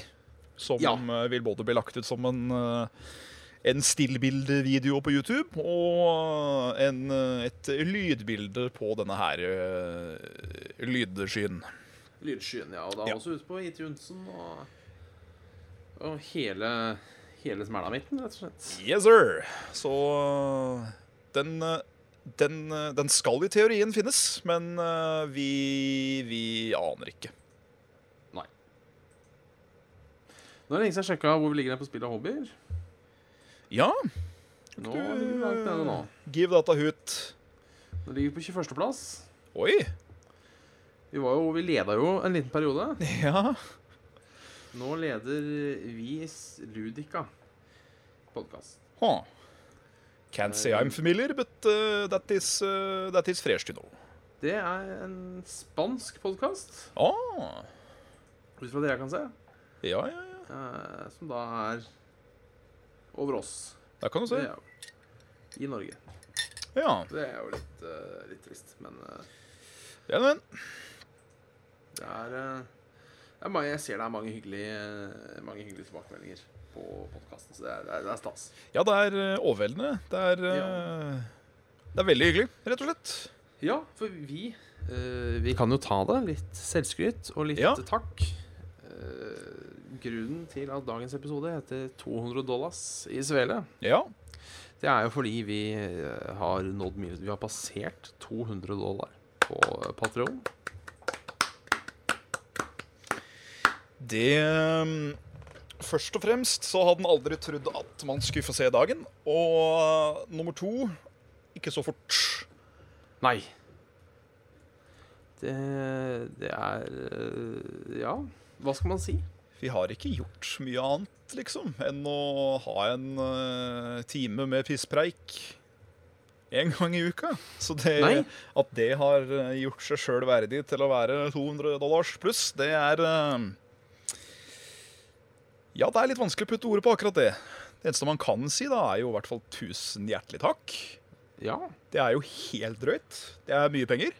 Som Ja. eh, vil både bli lagt ut som en, eh, en stillbildevideo på YouTube og en, eh, et lydbilde på denne her eh, lydskyen. Lydskyen, ja. Og da Ja. også ute på iTunesen og, og hele, hele smæla midten, rett og slett. Yes, sir! Så øh, den, øh, den, øh, den skal i teorien finnes, men øh, vi, vi aner ikke. Nå er det lenge siden jeg sjekka hvor vi ligger her på spill og hobbyer. Ja, Nå ligger vi langt nede nå. give data hoot. Nå ligger vi på 21. plass. Oi! Vi, var jo, vi leda jo en liten periode. Ja. Nå leder vi s- Ludica podkast. Huh. Can't say I'm familiar, but øh, that, is, øh, that is fresh to know. Det er en spansk podkast, Ah, ut fra det jeg kan se. ja, ja, ja. eh, som da er over oss. Der kan du Det se. er jo i Norge. Ja. Det er jo litt, eh, litt trist, men eh, Ja, men. det er, eh, det er mange, Jeg ser det er mange hyggelige, eh, mange hyggelige tilbakemeldinger på podkasten, så det er, det er, det er stas. ja, det er eh, overveldende. Det er eh, Det er veldig hyggelig, rett og slett. Ja, for vi eh, Vi kan jo ta det. Litt selvskryt og litt Ja. takk. Eh, grunnen til at dagens episode heter 200 dollars i svele, Ja. det er jo fordi vi eh, har nådd mil- Vi har passert 200 dollar på Patreon Det um, Først og fremst så hadde han aldri trodd at man skulle få se dagen. Og uh, nummer to ikke så fort. Nei. Det, det er eh, Ja, hva skal man si? Vi har ikke gjort mye annet, liksom, enn å ha en uh, time med pisspreik én gang i uka. Så det, Nei. at det har uh, gjort seg sjøl verdig til å være 200 dollars pluss, det er uh, Ja, det er litt vanskelig å putte ordet på akkurat det. Det eneste man kan si, da, er jo i hvert fall tusen hjertelig takk. Ja, Det er jo helt drøyt. Det er mye penger.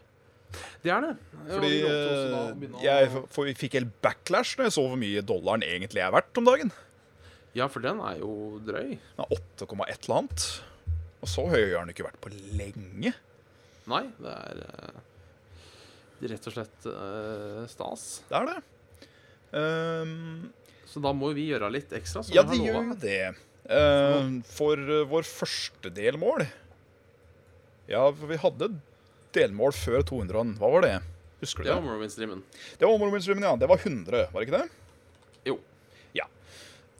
det er det. Fordi Ja, vi lovte også da å begynne eh, å- jeg f- for, fikk helt backlash når jeg så hvor mye dollaren egentlig er verdt om dagen. Ja, for den er jo drøy. Den er 8,1 eller annet. Og så høy har den ikke vært på lenge. Nei, det er eh, rett og slett eh, stas. Det er det. Ehm, Så da må jo vi gjøre litt ekstra. som ja, vi de har gjør lovet. jo det. Ehm, for eh, vår første delmål Ja, for vi hadde delmål før 200-en. Hva var det? Husker du Det det? var Morrowind-streamen. Det var Omrominsrummen, ja. Det var 100, var det ikke det? Jo. Ja.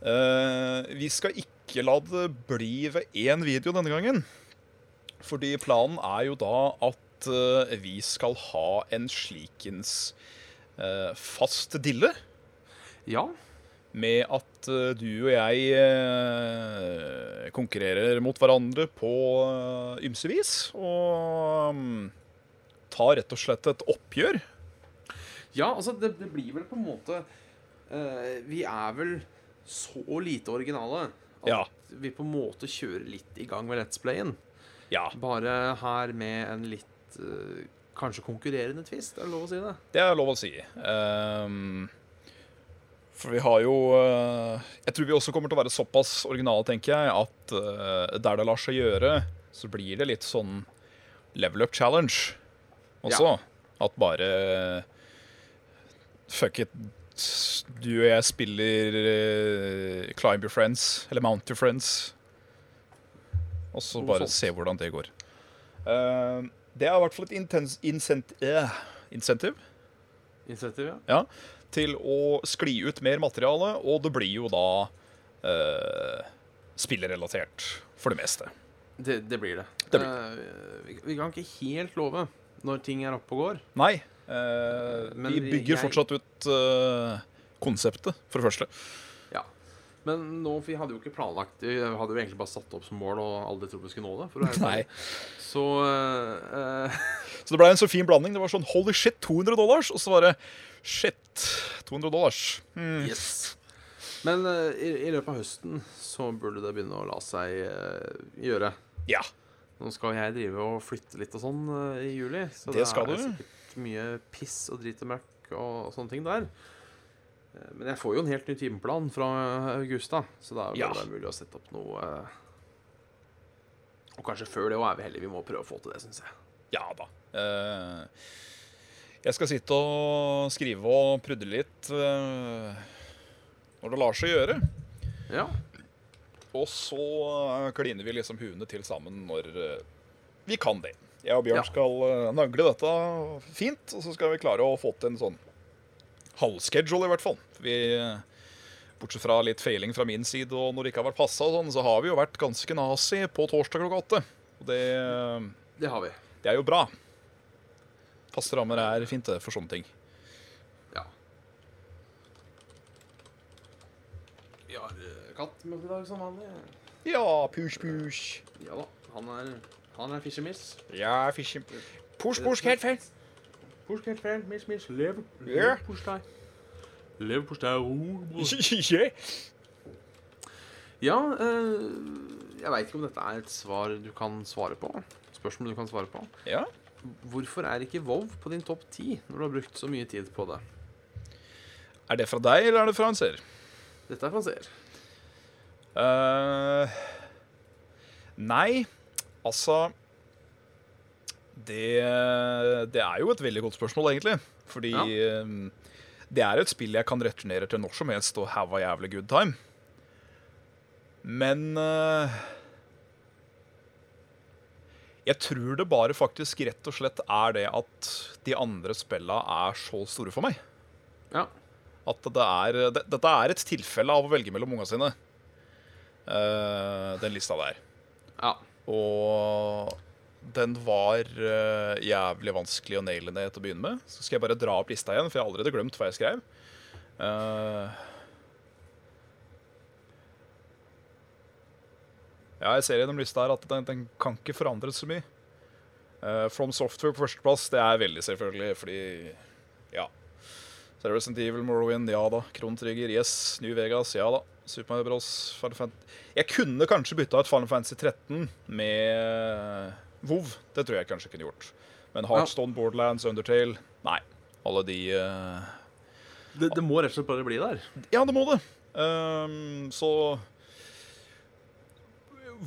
Eh, vi skal ikke la det bli ved én video denne gangen. Fordi planen er jo da at eh, vi skal ha en slikens eh, fast dille. Ja. Med at eh, du og jeg eh, konkurrerer mot hverandre på eh, ymse vis. Og mm, tar rett og slett et oppgjør. ja, altså, det, det blir vel på en måte eh, Vi er vel så lite originale at Ja. vi på en måte kjører litt i gang med Let's Playen. Ja, Bare her med en litt eh, kanskje konkurrerende twist, er det lov å si det? Det er lov å si. Ehm, for vi har jo eh, Jeg tror vi også kommer til å være såpass originale, tenker jeg, at eh, der det lar seg gjøre, så blir det litt sånn level up challenge også. At bare eh, Fuck it. Du og jeg spiller eh, Climb your friends, eller Mount your friends. Og så Noe bare sånt. se hvordan det går. Ehm, det er i hvert fall et intens, incent, eh, insentiv Initiativ, ja. ja, til å skli ut mer materiale, og det blir jo da eh, spillerelatert for det meste. Det, det blir det. Det blir Eh, vi, vi kan ikke helt love når ting er oppe og går. Nei, eh, Men vi vi- bygger jeg- fortsatt ut eh, konseptet, for det første. Ja. Men nå, for vi hadde jo ikke planlagt Vi hadde jo egentlig bare satt opp som mål og aldri trodd vi skulle nå det. For å være Nei. ærlig. Så eh, eh, Så det blei en så fin blanding. Det var sånn holy shit, 200 dollars, og så var det shit, 200 dollars. Hmm. Yes. Men eh, i, i løpet av høsten så burde det begynne å la seg eh, gjøre. Ja. Nå skal jeg drive og flytte litt og sånn eh, i juli, så Det skal er du. sikkert mye piss og drit og møkk og sånne ting der. Eh, Men jeg får jo en helt ny timeplan fra eh, august, da, så da er det Ja. bare mulig å sette opp noe eh, Og kanskje før det òg er vi heldige. Vi må prøve å få til det, syns jeg. Ja da. Eh, jeg skal sitte og skrive og prudde litt eh, når det lar seg gjøre. Ja. Og så eh, kliner vi liksom huene til sammen når eh, vi kan det. Jeg og Bjørn Ja. skal eh, nagle dette fint, og så skal vi klare å få til en sånn halvschedule, i hvert fall. Vi, eh, bortsett fra litt feiling fra min side, og når det ikke har vært passa, og sånn, så har vi jo vært ganske nazi på torsdag klokka åtte. Og det, eh, Det har vi. det er jo bra. Faste rammer er fint det, for sånne ting. Ja. Vi har eh, katt med oss i dag som vanlig. Ja, push, push. Ja da. Han er, han er fiskemiss. Ja, fishy. Push, push, helt feil. Push, helt feil. Miss, miss. Lev. Ja. Push deg. Leverpostei Yeah. Ja, eh, jeg veit ikke om dette er et svar du kan svare på. Spørsmål du kan svare på. Ja. Hvorfor er ikke Vov på din topp ti når du har brukt så mye tid på det? Er det fra deg, eller er det fra en seer? Dette er fra en seer. Eh, nei, altså det, det er jo et veldig godt spørsmål, egentlig. Fordi Ja. eh, det er et spill jeg kan returnere til når som helst og have a jævlig good time. Men eh, jeg tror det bare faktisk rett og slett er det at de andre spilla er så store for meg. Ja. At det er, det, dette er et tilfelle av å velge mellom unga sine, eh, den lista der. ja. Og den var eh, jævlig vanskelig å naile ned til å begynne med. Så skal jeg bare dra opp lista igjen, for jeg har allerede glemt hva jeg skrev. Eh, ja, jeg ser gjennom lista her at den, den kan ikke forandres så mye. Eh, From Software på førsteplass, det er veldig selvfølgelig, fordi ja. Så er det Resident Evil, Morrowind, ja da. Kron Trigger, yes. New Vegas, ja da. Super Mario Bros. Final Fantasy jeg kunne kanskje bytta ut Final Fantasy 13 med WoW. Det tror jeg kanskje jeg kunne gjort. Men Heartstone, Borderlands, Undertale Nei. Alle de eh, Det, det må rett og slett bare bli der. Ja, det må det! Ehm, så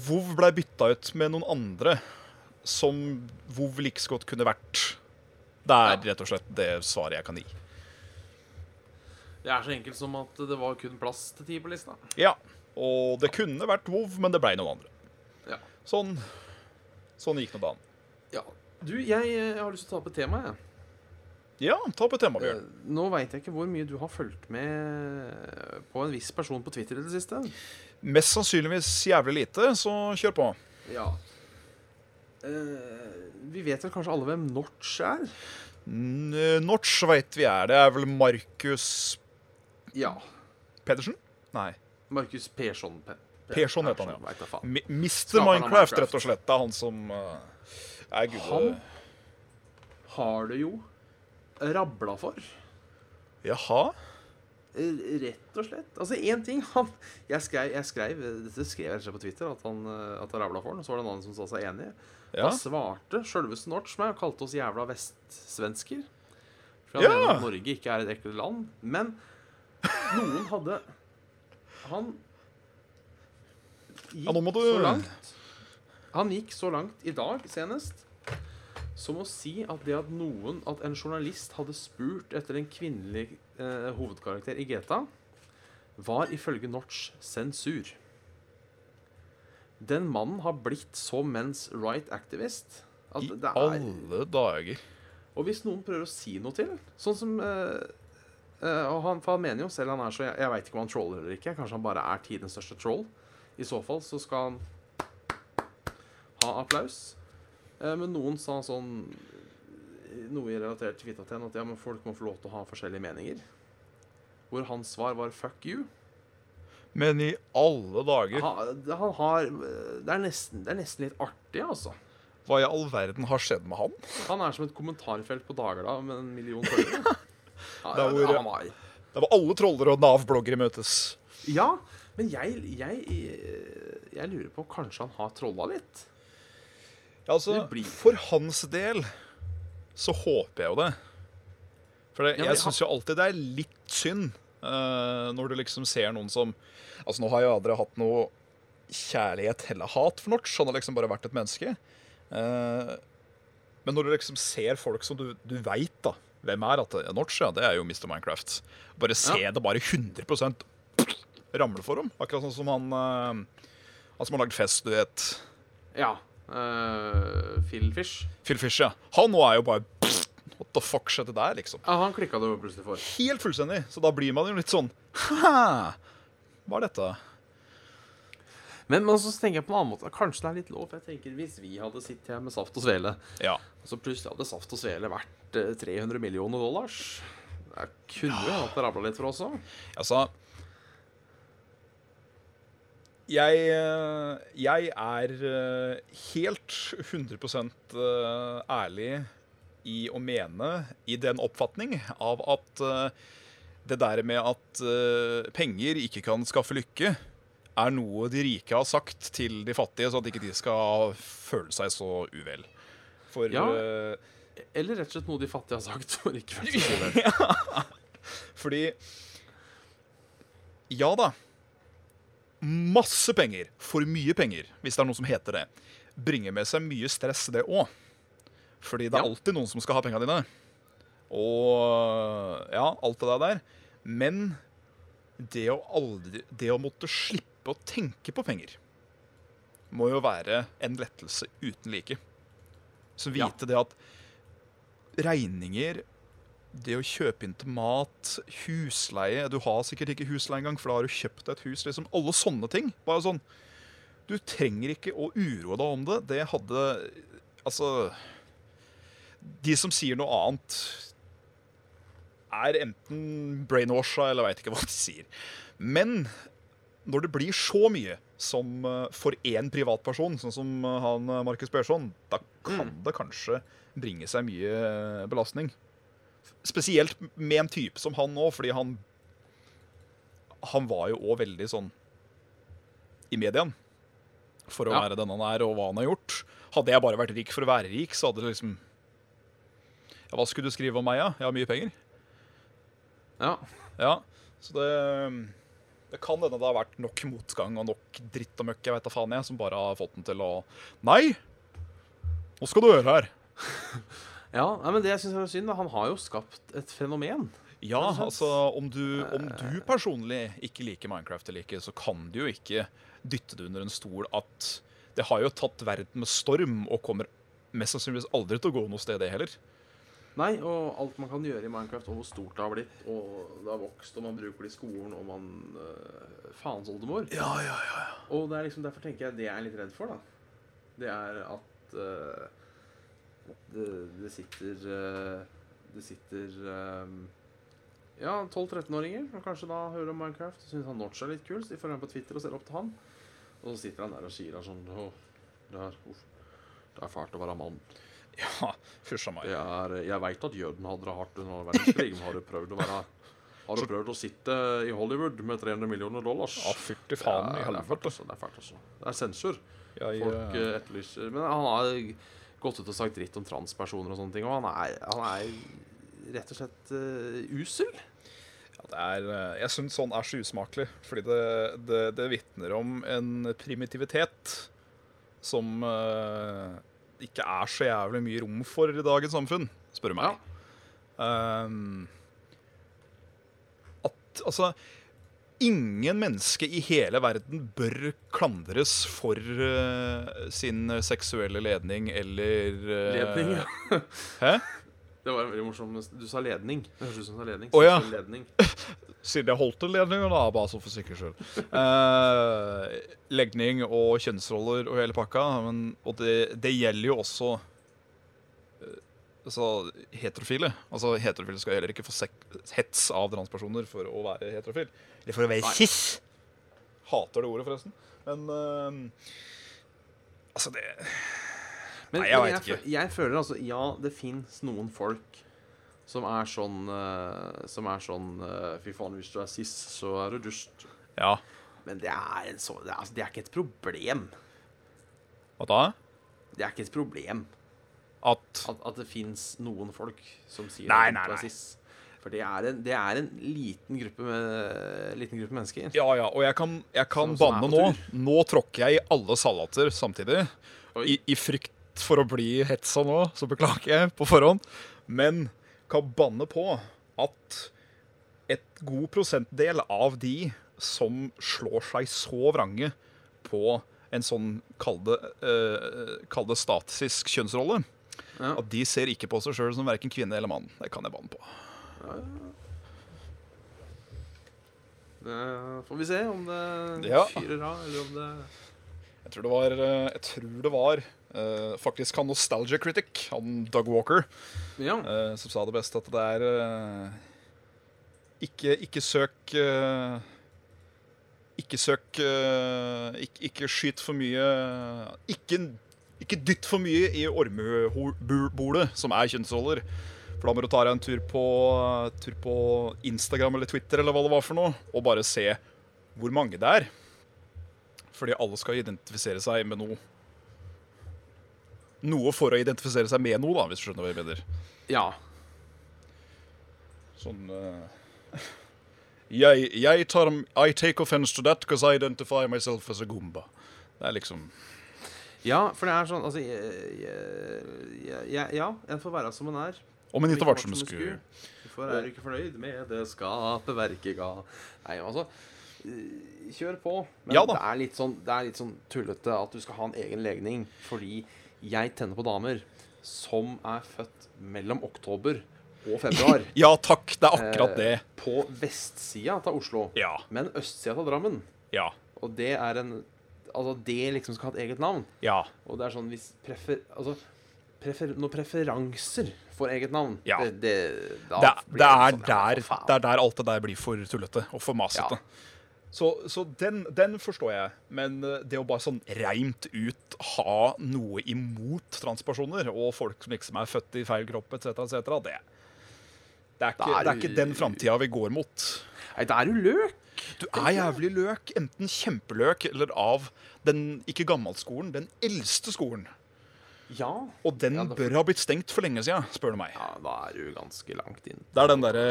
WoW blei bytta ut med noen andre som WoW like så godt kunne vært. Det er rett og slett det svaret jeg kan gi. Det er så enkelt som at det var kun plass til ti på lista. Ja, og det kunne vært WoW, men det blei noen andre. Ja. Sånn, sånn gikk nå dagen. Ja. Du, jeg, eh, har lyst til å ta opp et tema, jeg. Ja, ta opp et tema, Bjørn. Eh, Nå veit jeg ikke hvor mye du har fulgt med på en viss person på Twitter i det siste. Mest sannsynligvis jævlig lite, så kjør på. Ja. Eh, vi vet vel kanskje alle hvem Notch er? N- eh, Notch veit vi er. Det er vel Markus Ja. Pedersen? Nei. Markus Persson. Pe Pe- Persson heter han, ja. Vet da faen. Mi- Mr. Skaperen av Minecraft, Minecraft. rett og slett. Det er han som eh, er gudet. Han har det jo rabla for. Jaha? R- Rett og slett. Altså, én ting han Jeg skrev, jeg skrev dette skrev jeg rett og slett på Twitter, at han, eh, at han rabla for den, og så var det en annen som sa seg enig. Ja. Da svarte sjølveste Norts meg og kalte oss jævla vestsvensker. For han Ja. mener at Norge ikke er et ekkelt land. Men noen hadde Han gikk Ja, nå må du- så langt Han gikk så langt i dag senest som å si at det at noen At en journalist hadde spurt etter en kvinnelig eh, hovedkarakter i GTA, var ifølge Notch sensur. Den mannen har blitt så men's right activist at I det er alle dager. Og hvis noen prøver å si noe til, sånn som eh, eh, og han, For han mener jo selv han er så Jeg, jeg veit ikke om han troller eller ikke. Kanskje han bare er tidens største troll. I så fall så skal han ha applaus. Eh, men noen sa sånn noe i relatert til Fitta Ten at ja, men folk må få lov til å ha forskjellige meninger. Hvor hans svar var 'fuck you'. Men i alle dager, Han, han har det er, nesten, det er nesten litt artig, altså. hva i all verden har skjedd med han? Han er som et kommentarfelt på Dagbladet med en million følgere. Ja, Der hvor- ja, han var- Det var alle troller og Nav-bloggere møtes. ja, men jeg, jeg, jeg lurer på Kanskje han har trolla litt? Ja, altså, Det blir- For hans del så håper jeg jo det. For det, Ja, men jeg han- syns jo alltid det er litt synd eh, når du liksom ser noen som Altså, nå har jo aldri hatt noe kjærlighet eller hat for Notch. Han har liksom bare vært et menneske. Eh, men når du liksom ser folk som du, du veit, da Hvem er at ja, Notch? Ja, det er jo Mr. Minecraft. Bare se Ja. det bare 100 ramle for dem. Akkurat sånn som han eh, Han som har lagd fest, du vet. Ja. Uh, Phil Fish. Phil Fisher, ja. Han nå er jo bare What the fuck skjedde der, liksom? Ja, han klikka det jo plutselig for. Helt fullstendig. Så da blir man jo litt sånn Haha, Hva er dette? Men, men så tenker jeg på en annen måte kanskje det er litt lov. for Jeg tenker Hvis vi hadde sittet her med saft og svele, Ja. så plutselig hadde saft og svele vært eh, 300 millioner dollars Det kunne jo hende at det rabla litt for oss òg. Altså Jeg, eh, jeg er eh, helt 100 eh, ærlig i å mene, i den oppfatning, av at eh, det der med at eh, penger ikke kan skaffe lykke, er noe de rike har sagt til de fattige, så at ikke de skal føle seg så uvel. For Ja. eh, Eller rett og slett noe de fattige har sagt. For ikke vært så vel. ja. Fordi Ja da. Masse penger, for mye penger, hvis det er noe som heter det, bringer med seg mye stress, det òg. Fordi det er Ja. alltid noen som skal ha penga dine. Og ja, alt det der. Men det å aldri Det å måtte slippe å tenke på penger må jo være en lettelse uten like. Så Ja. vite det at regninger, det å kjøpe inn til mat, husleie Du har sikkert ikke husleie engang, for da har du kjøpt deg et hus. liksom Alle sånne ting. Bare sånn Du trenger ikke å uroe deg om det. Det hadde Altså De som sier noe annet, er enten brainwasha eller veit ikke hva de sier. Men når det blir så mye som eh, for én privatperson, sånn som eh, han eh, Markus Persson, da kan det kanskje bringe seg mye eh, belastning. Spesielt med en type som han nå, fordi han Han var jo òg veldig sånn i mediene for å Ja. være den han er, og hva han har gjort. Hadde jeg bare vært rik for å være rik, så hadde det liksom ja, Hva skulle du skrive om meg, da? Jeg har mye penger. Ja. Ja, så det Det kan hende det har vært nok motgang og nok dritt og møkk, jeg vet da faen jeg, som bare har fått den til å Nei! Nå skal du høre her. ja nei, men det jeg syns er synd, da, han har jo skapt et fenomen. Ja, Ikke sant? altså, om du, om du personlig ikke liker Minecraft eller ikke, så kan du jo ikke dytte det under en stol at det har jo tatt verden med storm og kommer mest sannsynligvis aldri til å gå noe sted, det heller. Nei, og alt man kan gjøre i Minecraft, og hvor stort det har blitt, og det har vokst, og man bruker det i skolen, og man øh, Faens oldemor. Ja, ja, ja. Og det er liksom, derfor tenker jeg det jeg er litt redd for, da. Det er at øh, det, det sitter øh, Det sitter øh, Ja, 12-13-åringer som kanskje da hører om Minecraft og syns han Notch er litt kul, så de får være med på Twitter og ser opp til han. Og så sitter han der og sier han sånn Åh, det er, uff, det er fælt å være mann. Ja, Fysja meg. Det er, jeg veit at jøden hadde det hardt under annen verdenskrig, men har du prøvd å være Har du prøvd å sitte i Hollywood med 300 millioner dollars? Ja, fytti faen i Ja, det er fælt, helvete. altså. Det er fælt, altså. Det er sensur. Jeg, Folk eh, eh, etterlyser Men han har gått ut og sagt dritt om transpersoner og sånne ting, og han er, han er rett og slett eh, usel. Ja, det er, eh, jeg syns sånn er så usmakelig, fordi det, det, det vitner om en primitivitet som eh, ikke er så jævlig mye rom for i dagens samfunn, spør du meg. Ehm, at altså Ingen menneske i hele verden bør klandres for eh, sin seksuelle ledning eller eh, Ledning, ja. Hæ? Det var en veldig morsom Du sa ledning. Det høres ut som du sa ledning. Å, ja. Seksuell ledning. Siden jeg holdt en ledning, da, bare så for sikkerhets skyld. Eh, legning og kjønnsroller og hele pakka. Men, og det, det gjelder jo også eh, altså, heterofile. Altså, heterofile skal heller ikke få sek hets av transpersoner for å være heterofil. Eller for å være cis. Hater det ordet, forresten. Men eh, Altså, det Men, Nei, jeg men vet ikke. fø- Jeg føler altså Ja, det fins noen folk som er sånn eh, Som er sånn eh, Fy faen, hvis du er cis, så er du dust. Ja. Men det er, en så, det, er, altså, det er ikke et problem. Hva da? Det er ikke et problem At at, at det fins noen folk som sier Nei, at nei, du er nei. cis. For det er en, det er en liten, gruppe med, liten gruppe mennesker. Ja, ja, og jeg kan, jeg kan Som- som er banne på nå. tur. Nå tråkker jeg i alle salater samtidig. Oi. I, I frykt for å bli hetsa nå, så beklager jeg på forhånd. Men kan banne på at et god prosentdel av de som slår seg så vrange på en sånn kall det, eh, kall det statisk kjønnsrolle, Ja. at de ser ikke på seg sjøl som verken kvinne eller mann. Det kan jeg banne på. Det får vi se om det Ja. fyrer av, eller om det Jeg tror det var, eh, jeg tror det var eh, faktisk han Nostalgia Critic, han Doug Walker, Ja. eh, som sa det best at det er eh, ikke, ikke søk eh, Ikke søk eh, ikke, ikke skyt for mye Ikke, ikke dytt for mye i ormebordet, som er kjønnsroller. For da må du ta deg en tur på, tur på Instagram eller Twitter eller hva det var for noe, og bare se hvor mange det er. Fordi alle skal identifisere seg med noe. Noe for å identifisere seg med noe, da, hvis du skjønner hva jeg mener. Ja. Sånn eh, jeg, jeg tar I take offense to that because I identify myself as a gumba. Det er liksom ja, for det er sånn Altså, jeg, jeg, jeg, ja, en får være som en er. Om en ikke Like var som en sku. Hvorfor er du ikke fornøyd med det skapet verket ga Nei, altså eh, Kjør på. Men Ja da. det, er litt sånn, det er litt sånn tullete at du skal ha en egen legning fordi jeg tenner på damer som er født mellom oktober og februar. Ja takk, det er Eh, akkurat det. På vestsida av Oslo, Ja. men østsida av Drammen. Ja. Og det er en Altså, det liksom skal ha et eget navn. Ja. Og det er sånn hvis prefer... Altså, prefer, når preferanser får eget navn Ja. det, det, da det, blir det, er sånn, ja, der, for faen. det er der alt det der blir for tullete og for masete. Så, så den, den forstår jeg, men eh, det å bare sånn reimt ut ha noe imot transpersoner og folk som liksom er født i feil kropp etc., etc., det, det, er ikke, Da er det er ikke du- den framtida vi går mot. Nei, det er jo løk! Du er jævlig løk, enten kjempeløk eller av den ikke gammelskolen, den eldste skolen. Ja. Og den Ja, det- bør ha blitt stengt for lenge siden, spør du meg. ja, da er du ganske langt inn. Det er den derre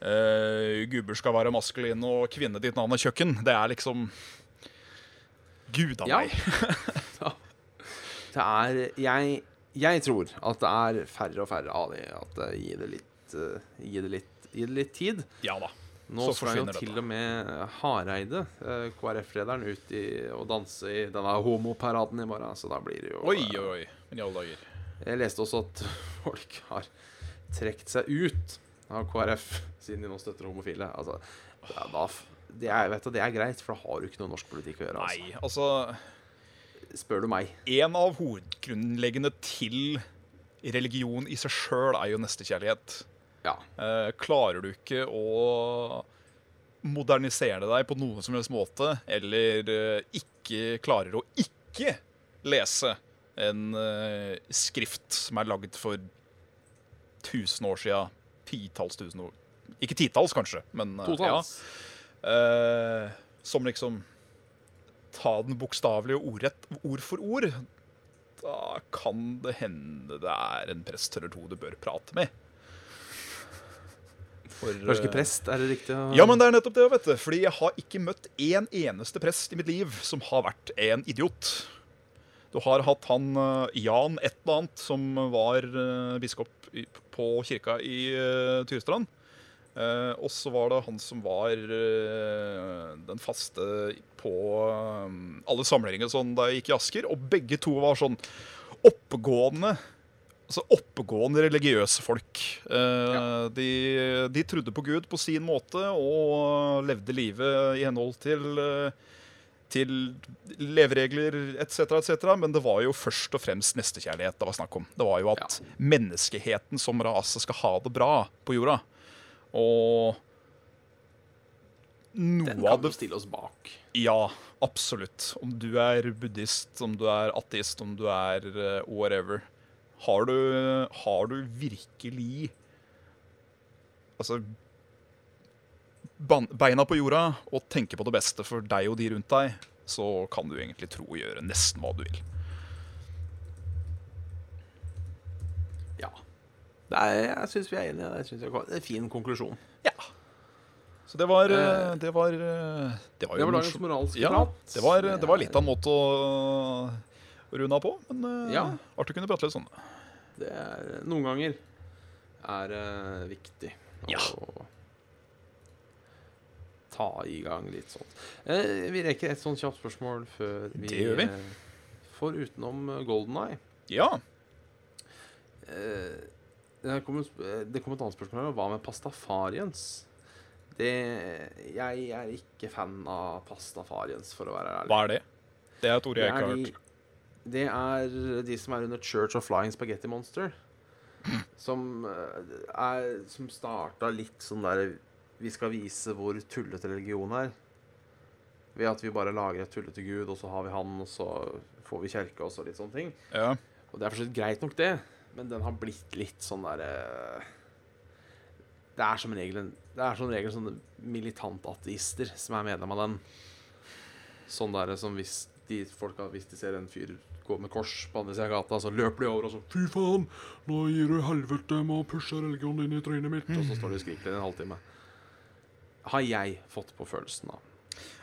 eh, Gubber skal være maskulin, og kvinne ditt navn er kjøkken. Det er liksom Gud av Ja. meg. Det er jeg, jeg tror at det er færre og færre av de. At det gir det litt, eh, gi det litt, gi det litt tid. Ja da. Nå Så skal jo forsvinner til dette. og med Hareide, eh, KrF-lederen, ut i, og danse i denne homoparaden i morgen. Så da blir det jo Oi, eh, oi, oi. Men i alle dager. Jeg leste også at folk har trukket seg ut av KrF siden de nå støtter homofile. Altså, ja, da, f- det, er, vet du, det er greit, for da har du ikke noe norsk politikk å gjøre. Nei, altså Altså. Spør du meg. En av hovedgrunnleggende til religion i seg sjøl er jo nestekjærlighet. Ja. Eh, klarer du ikke å modernisere deg på noen som helst måte, eller eh, ikke klarer å ikke lese en eh, skrift som er lagd for 1000 år sia, titalls tusen år Ikke titalls, kanskje, men eh, Totalt. ja. Eh, som liksom Ta den bokstavelig og ordrett, ord for ord. Da kan det hende det er en prest eller to du bør prate med. For, Norske eh, prest, er det riktig? å- ja, men det er nettopp det, vet du. Fordi jeg har ikke møtt én eneste prest i mitt liv som har vært en idiot. Du har hatt han eh, Jan et eller annet, som var eh, biskop i- på kirka i eh, Tyrestrand. Eh, og så var det han som var eh, den faste på eh, alle samlinger sånn da jeg gikk i Asker. Og begge to var sånn oppegående altså oppegående religiøse folk. Eh, de, de trodde på Gud på sin måte og levde livet i henhold til, eh, til leveregler etc., etc. Men det var jo først og fremst nestekjærlighet det var snakk om. Det var jo at menneskeheten som rase skal ha det bra på jorda. Og noe Den av kan det vi stille oss bak. ja, absolutt. Om du er buddhist, om du er ateist, om du er eh, whatever. Har du, har du virkelig Altså ban- Beina på jorda og tenke på det beste for deg og de rundt deg, så kan du egentlig tro og gjøre nesten hva du vil. Ja. Det er, jeg syns vi er enige. Jeg synes vi har- det er en fin konklusjon. Ja. Så det var eh, Eh, Det var, eh, det var Det jo var dagens morsomt. moralske Ja, prat. det var, det var litt av en måte å runde av på, men eh, Ja. artig å kunne prate litt sånn. Det er, eh, noen ganger er det viktig Ja. å ta i gang litt sånt. Eh, vi rekker et sånt kjapt spørsmål før vi, Det gjør vi. eh, får utenom eh, Golden Eye. Ja. Eh, det her kom, et sp- eh, det kom et annet spørsmål her. og Hva med pastafariens? Det, jeg er ikke fan av pastafariens, for å være ærlig. Hva er det? Det er et ord jeg ikke har de- hørt. Det er de som er under Church of Flying Spaghetti Monster. Som, eh, er, som starta litt sånn der Vi skal vise hvor tullete religion er. Ved at vi bare lager et tullete gud, og så har vi han, og så får vi kjerke, og så litt sånne ting. Ja. Og det er for så vidt greit nok, det. Men den har blitt litt sånn derre Det er som regel en- Det er som regel sånne militantateister som er medlem av den. Sånn derre som hvis de folka Hvis de ser en fyr gå med kors på andre sida av gata, så løper de over og så Fy faen, nå gir du helvete med å pushe religionen inn i trynet mitt. Og så står de og skriker i en halvtime. Har jeg fått på følelsen av.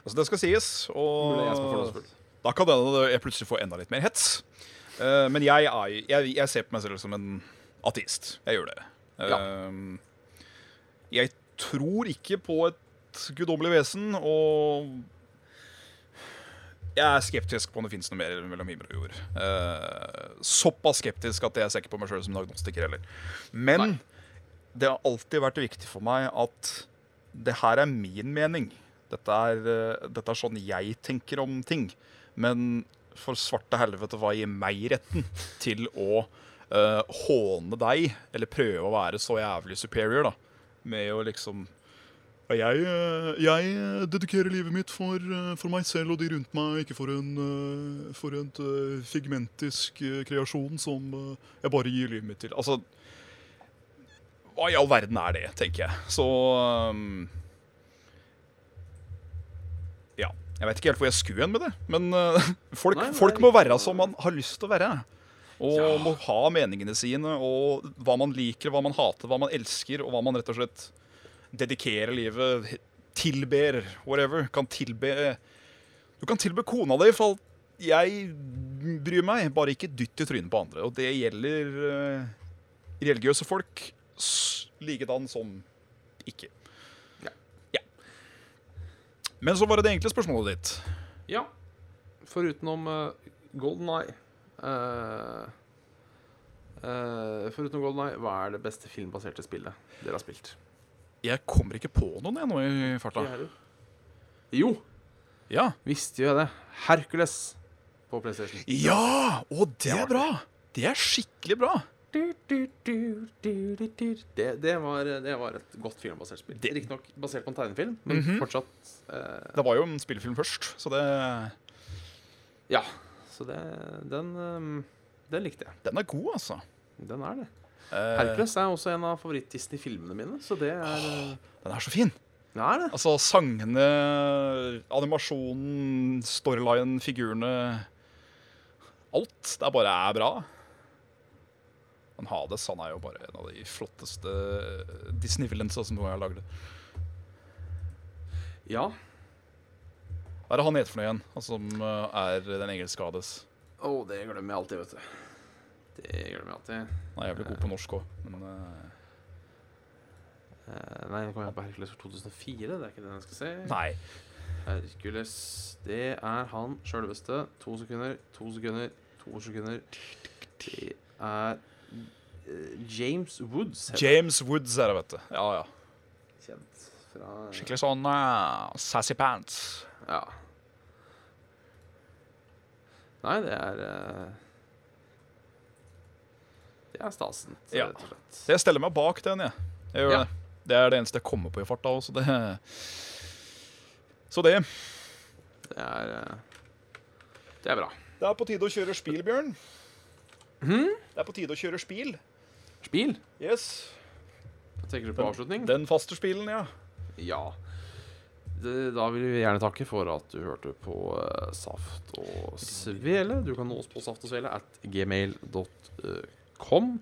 Altså, det skal sies, Mulig jeg som er og fordomsfull. da kan det hende jeg plutselig får enda litt mer hets. Eh, men jeg, er, jeg, jeg ser på meg selv som en ateist. Jeg gjør det. Eh, Jeg tror ikke på et guddommelig vesen, og jeg er skeptisk på om det fins noe mer mellom himmel og jord. Eh, såpass skeptisk at jeg ser ikke på meg sjøl som en agnostiker heller. Men Nei. det har alltid vært viktig for meg at det her er min mening. Dette er, eh, dette er sånn jeg tenker om ting. Men for svarte helvete, hva gir meg retten til å eh, håne deg, eller prøve å være så jævlig superior, da, med å liksom «Ja, jeg, eh, jeg eh, dedikerer livet mitt for, eh, for meg selv og de rundt meg, ikke for en, eh, for en eh, figmentisk eh, kreasjon som eh, jeg bare gir livet mitt til. Altså, hva i all verden er det, tenker jeg. Så um, Ja. Jeg vet ikke helt hvor jeg skulle hen med det, men uh, folk, Nei, men det er folk må riktig. være som man har lyst til å være. Og Ja. må ha meningene sine, og hva man liker, hva man hater, hva man elsker, og hva man rett og slett dedikerer livet Tilber, whatever. Kan tilbe Du kan tilbe kona di, for alt jeg bryr meg. Bare ikke dytt i trynet på andre. Og det gjelder eh, religiøse folk s- likedan som ikke. Ja. ja. Men så var det det enkle spørsmålet ditt. Ja. eh, Foruten om Golden Eye Eh, Foruten Golden Eye, eh, hva er det beste filmbaserte spillet dere har spilt? Jeg kommer ikke på noen jeg nå i farta. Jo, Ja. visste jo jeg det. Hercules på PlayStation. ja! Og det er bra! Det er skikkelig bra. Du, du, du, du, du, du. Det, det, var, det var et godt filmbasert spill. Det- Riktignok basert på en tegnefilm, men Mhm. fortsatt eh, Det var jo en spillefilm først, så det, Ja. Så det, den, eh, den likte jeg. den er god, altså. Den er det. Eh, Hercules er også en av favoritt-Disney-filmene mine, så det er eh, Den er så fin. Det er det. Altså sangene, animasjonen, storylinen, figurene Alt. Det er bare er bra. Men Hades han er jo bare en av de flotteste Disney-villainsa som noen gang er lagd. Ja. Hva er det han heter for noe igjen? Han som eh, er den engelske Hades. Å, det glemmer jeg alltid, vet du. Det glemmer jeg alltid. Han er jævlig god på norsk òg, men eh, Eh, nei, nå kom jeg på Hercules for 2004. Det er ikke den jeg skal se. Nei. Hercules Det er han sjølveste. To sekunder, to sekunder, to sekunder. Det er eh, James Woods. heter James Woods er det, vet du. Ja, ja. han. Kjent fra eh, Skikkelig sånn eh, sassy pants. Ja. Nei, det er eh, Det er stasen, Ja. rett og slett. Så jeg steller meg bak den, jeg. jeg gjør Ja. det. det er det eneste jeg kommer på i farta òg, så det Så det. Det er eh, Det er bra. Det er på tide å kjøre spil, Bjørn. Det er på tide å kjøre spil. Spil? Yes. Tenker du på avslutning? Den faste spilen, ja. Ja. Det, da vil vi gjerne takke for at du hørte på eh, Saft og Svele. Du kan nå oss på saft og svele at gmail.com.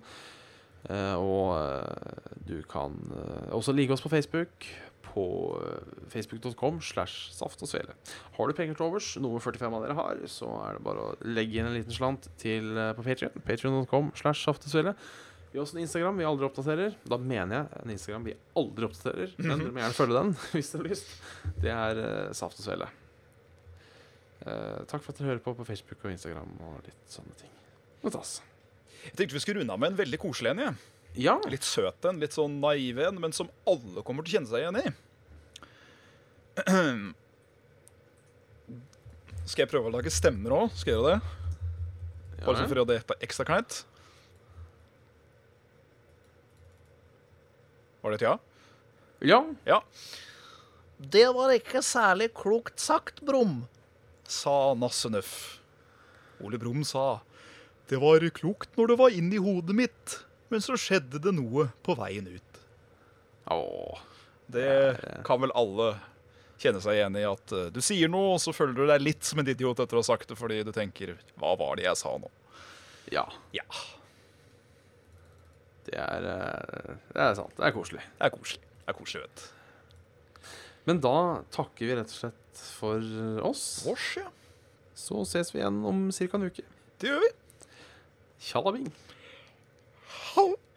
Eh, og eh, du kan eh, også like oss på Facebook på eh, facebook.com slash saft og svele. Har du penger til overs, noe 45 av dere har, så er det bare å legge inn en liten slant til, eh, på Patrion. Patrion.com slash saft og svele. Vi har også en Instagram vi aldri oppdaterer. Da mener jeg en Instagram vi aldri oppdaterer. Men dere må gjerne følge den hvis dere har lyst. Det er eh, Saft og Svele. Eh, takk for at dere hører på på Facebook og Instagram og litt sånne ting. Nå tas. Jeg tenkte vi skulle runde av med en veldig koselig en. jeg. Ja. Litt søt en, litt sånn naiv en, men som alle kommer til å kjenne seg igjen i. Skal jeg prøve å lage stemmer òg? Skal jeg gjøre det? Bare så for å gjøre det ekstra kleint? Var det et ja? ja. Ja. Det var ikke særlig klokt sagt, Brum, sa Nassenøff. Ole Brum sa. Det var klokt når det var inni hodet mitt, men så skjedde det noe på veien ut. Åh. Det kan vel alle kjenne seg igjen i at eh, du sier noe, og så føler du deg litt som en idiot etter å ha sagt det, fordi du tenker 'hva var det jeg sa nå'? Ja. Ja, Det er, eh, det er sant. Det er koselig. det er koselig. Det er koselig, vet du. Men da takker vi rett og slett for oss. Vårs, ja. Så ses vi igjen om ca. en uke. Det gjør vi. Tjallabing. Ha det.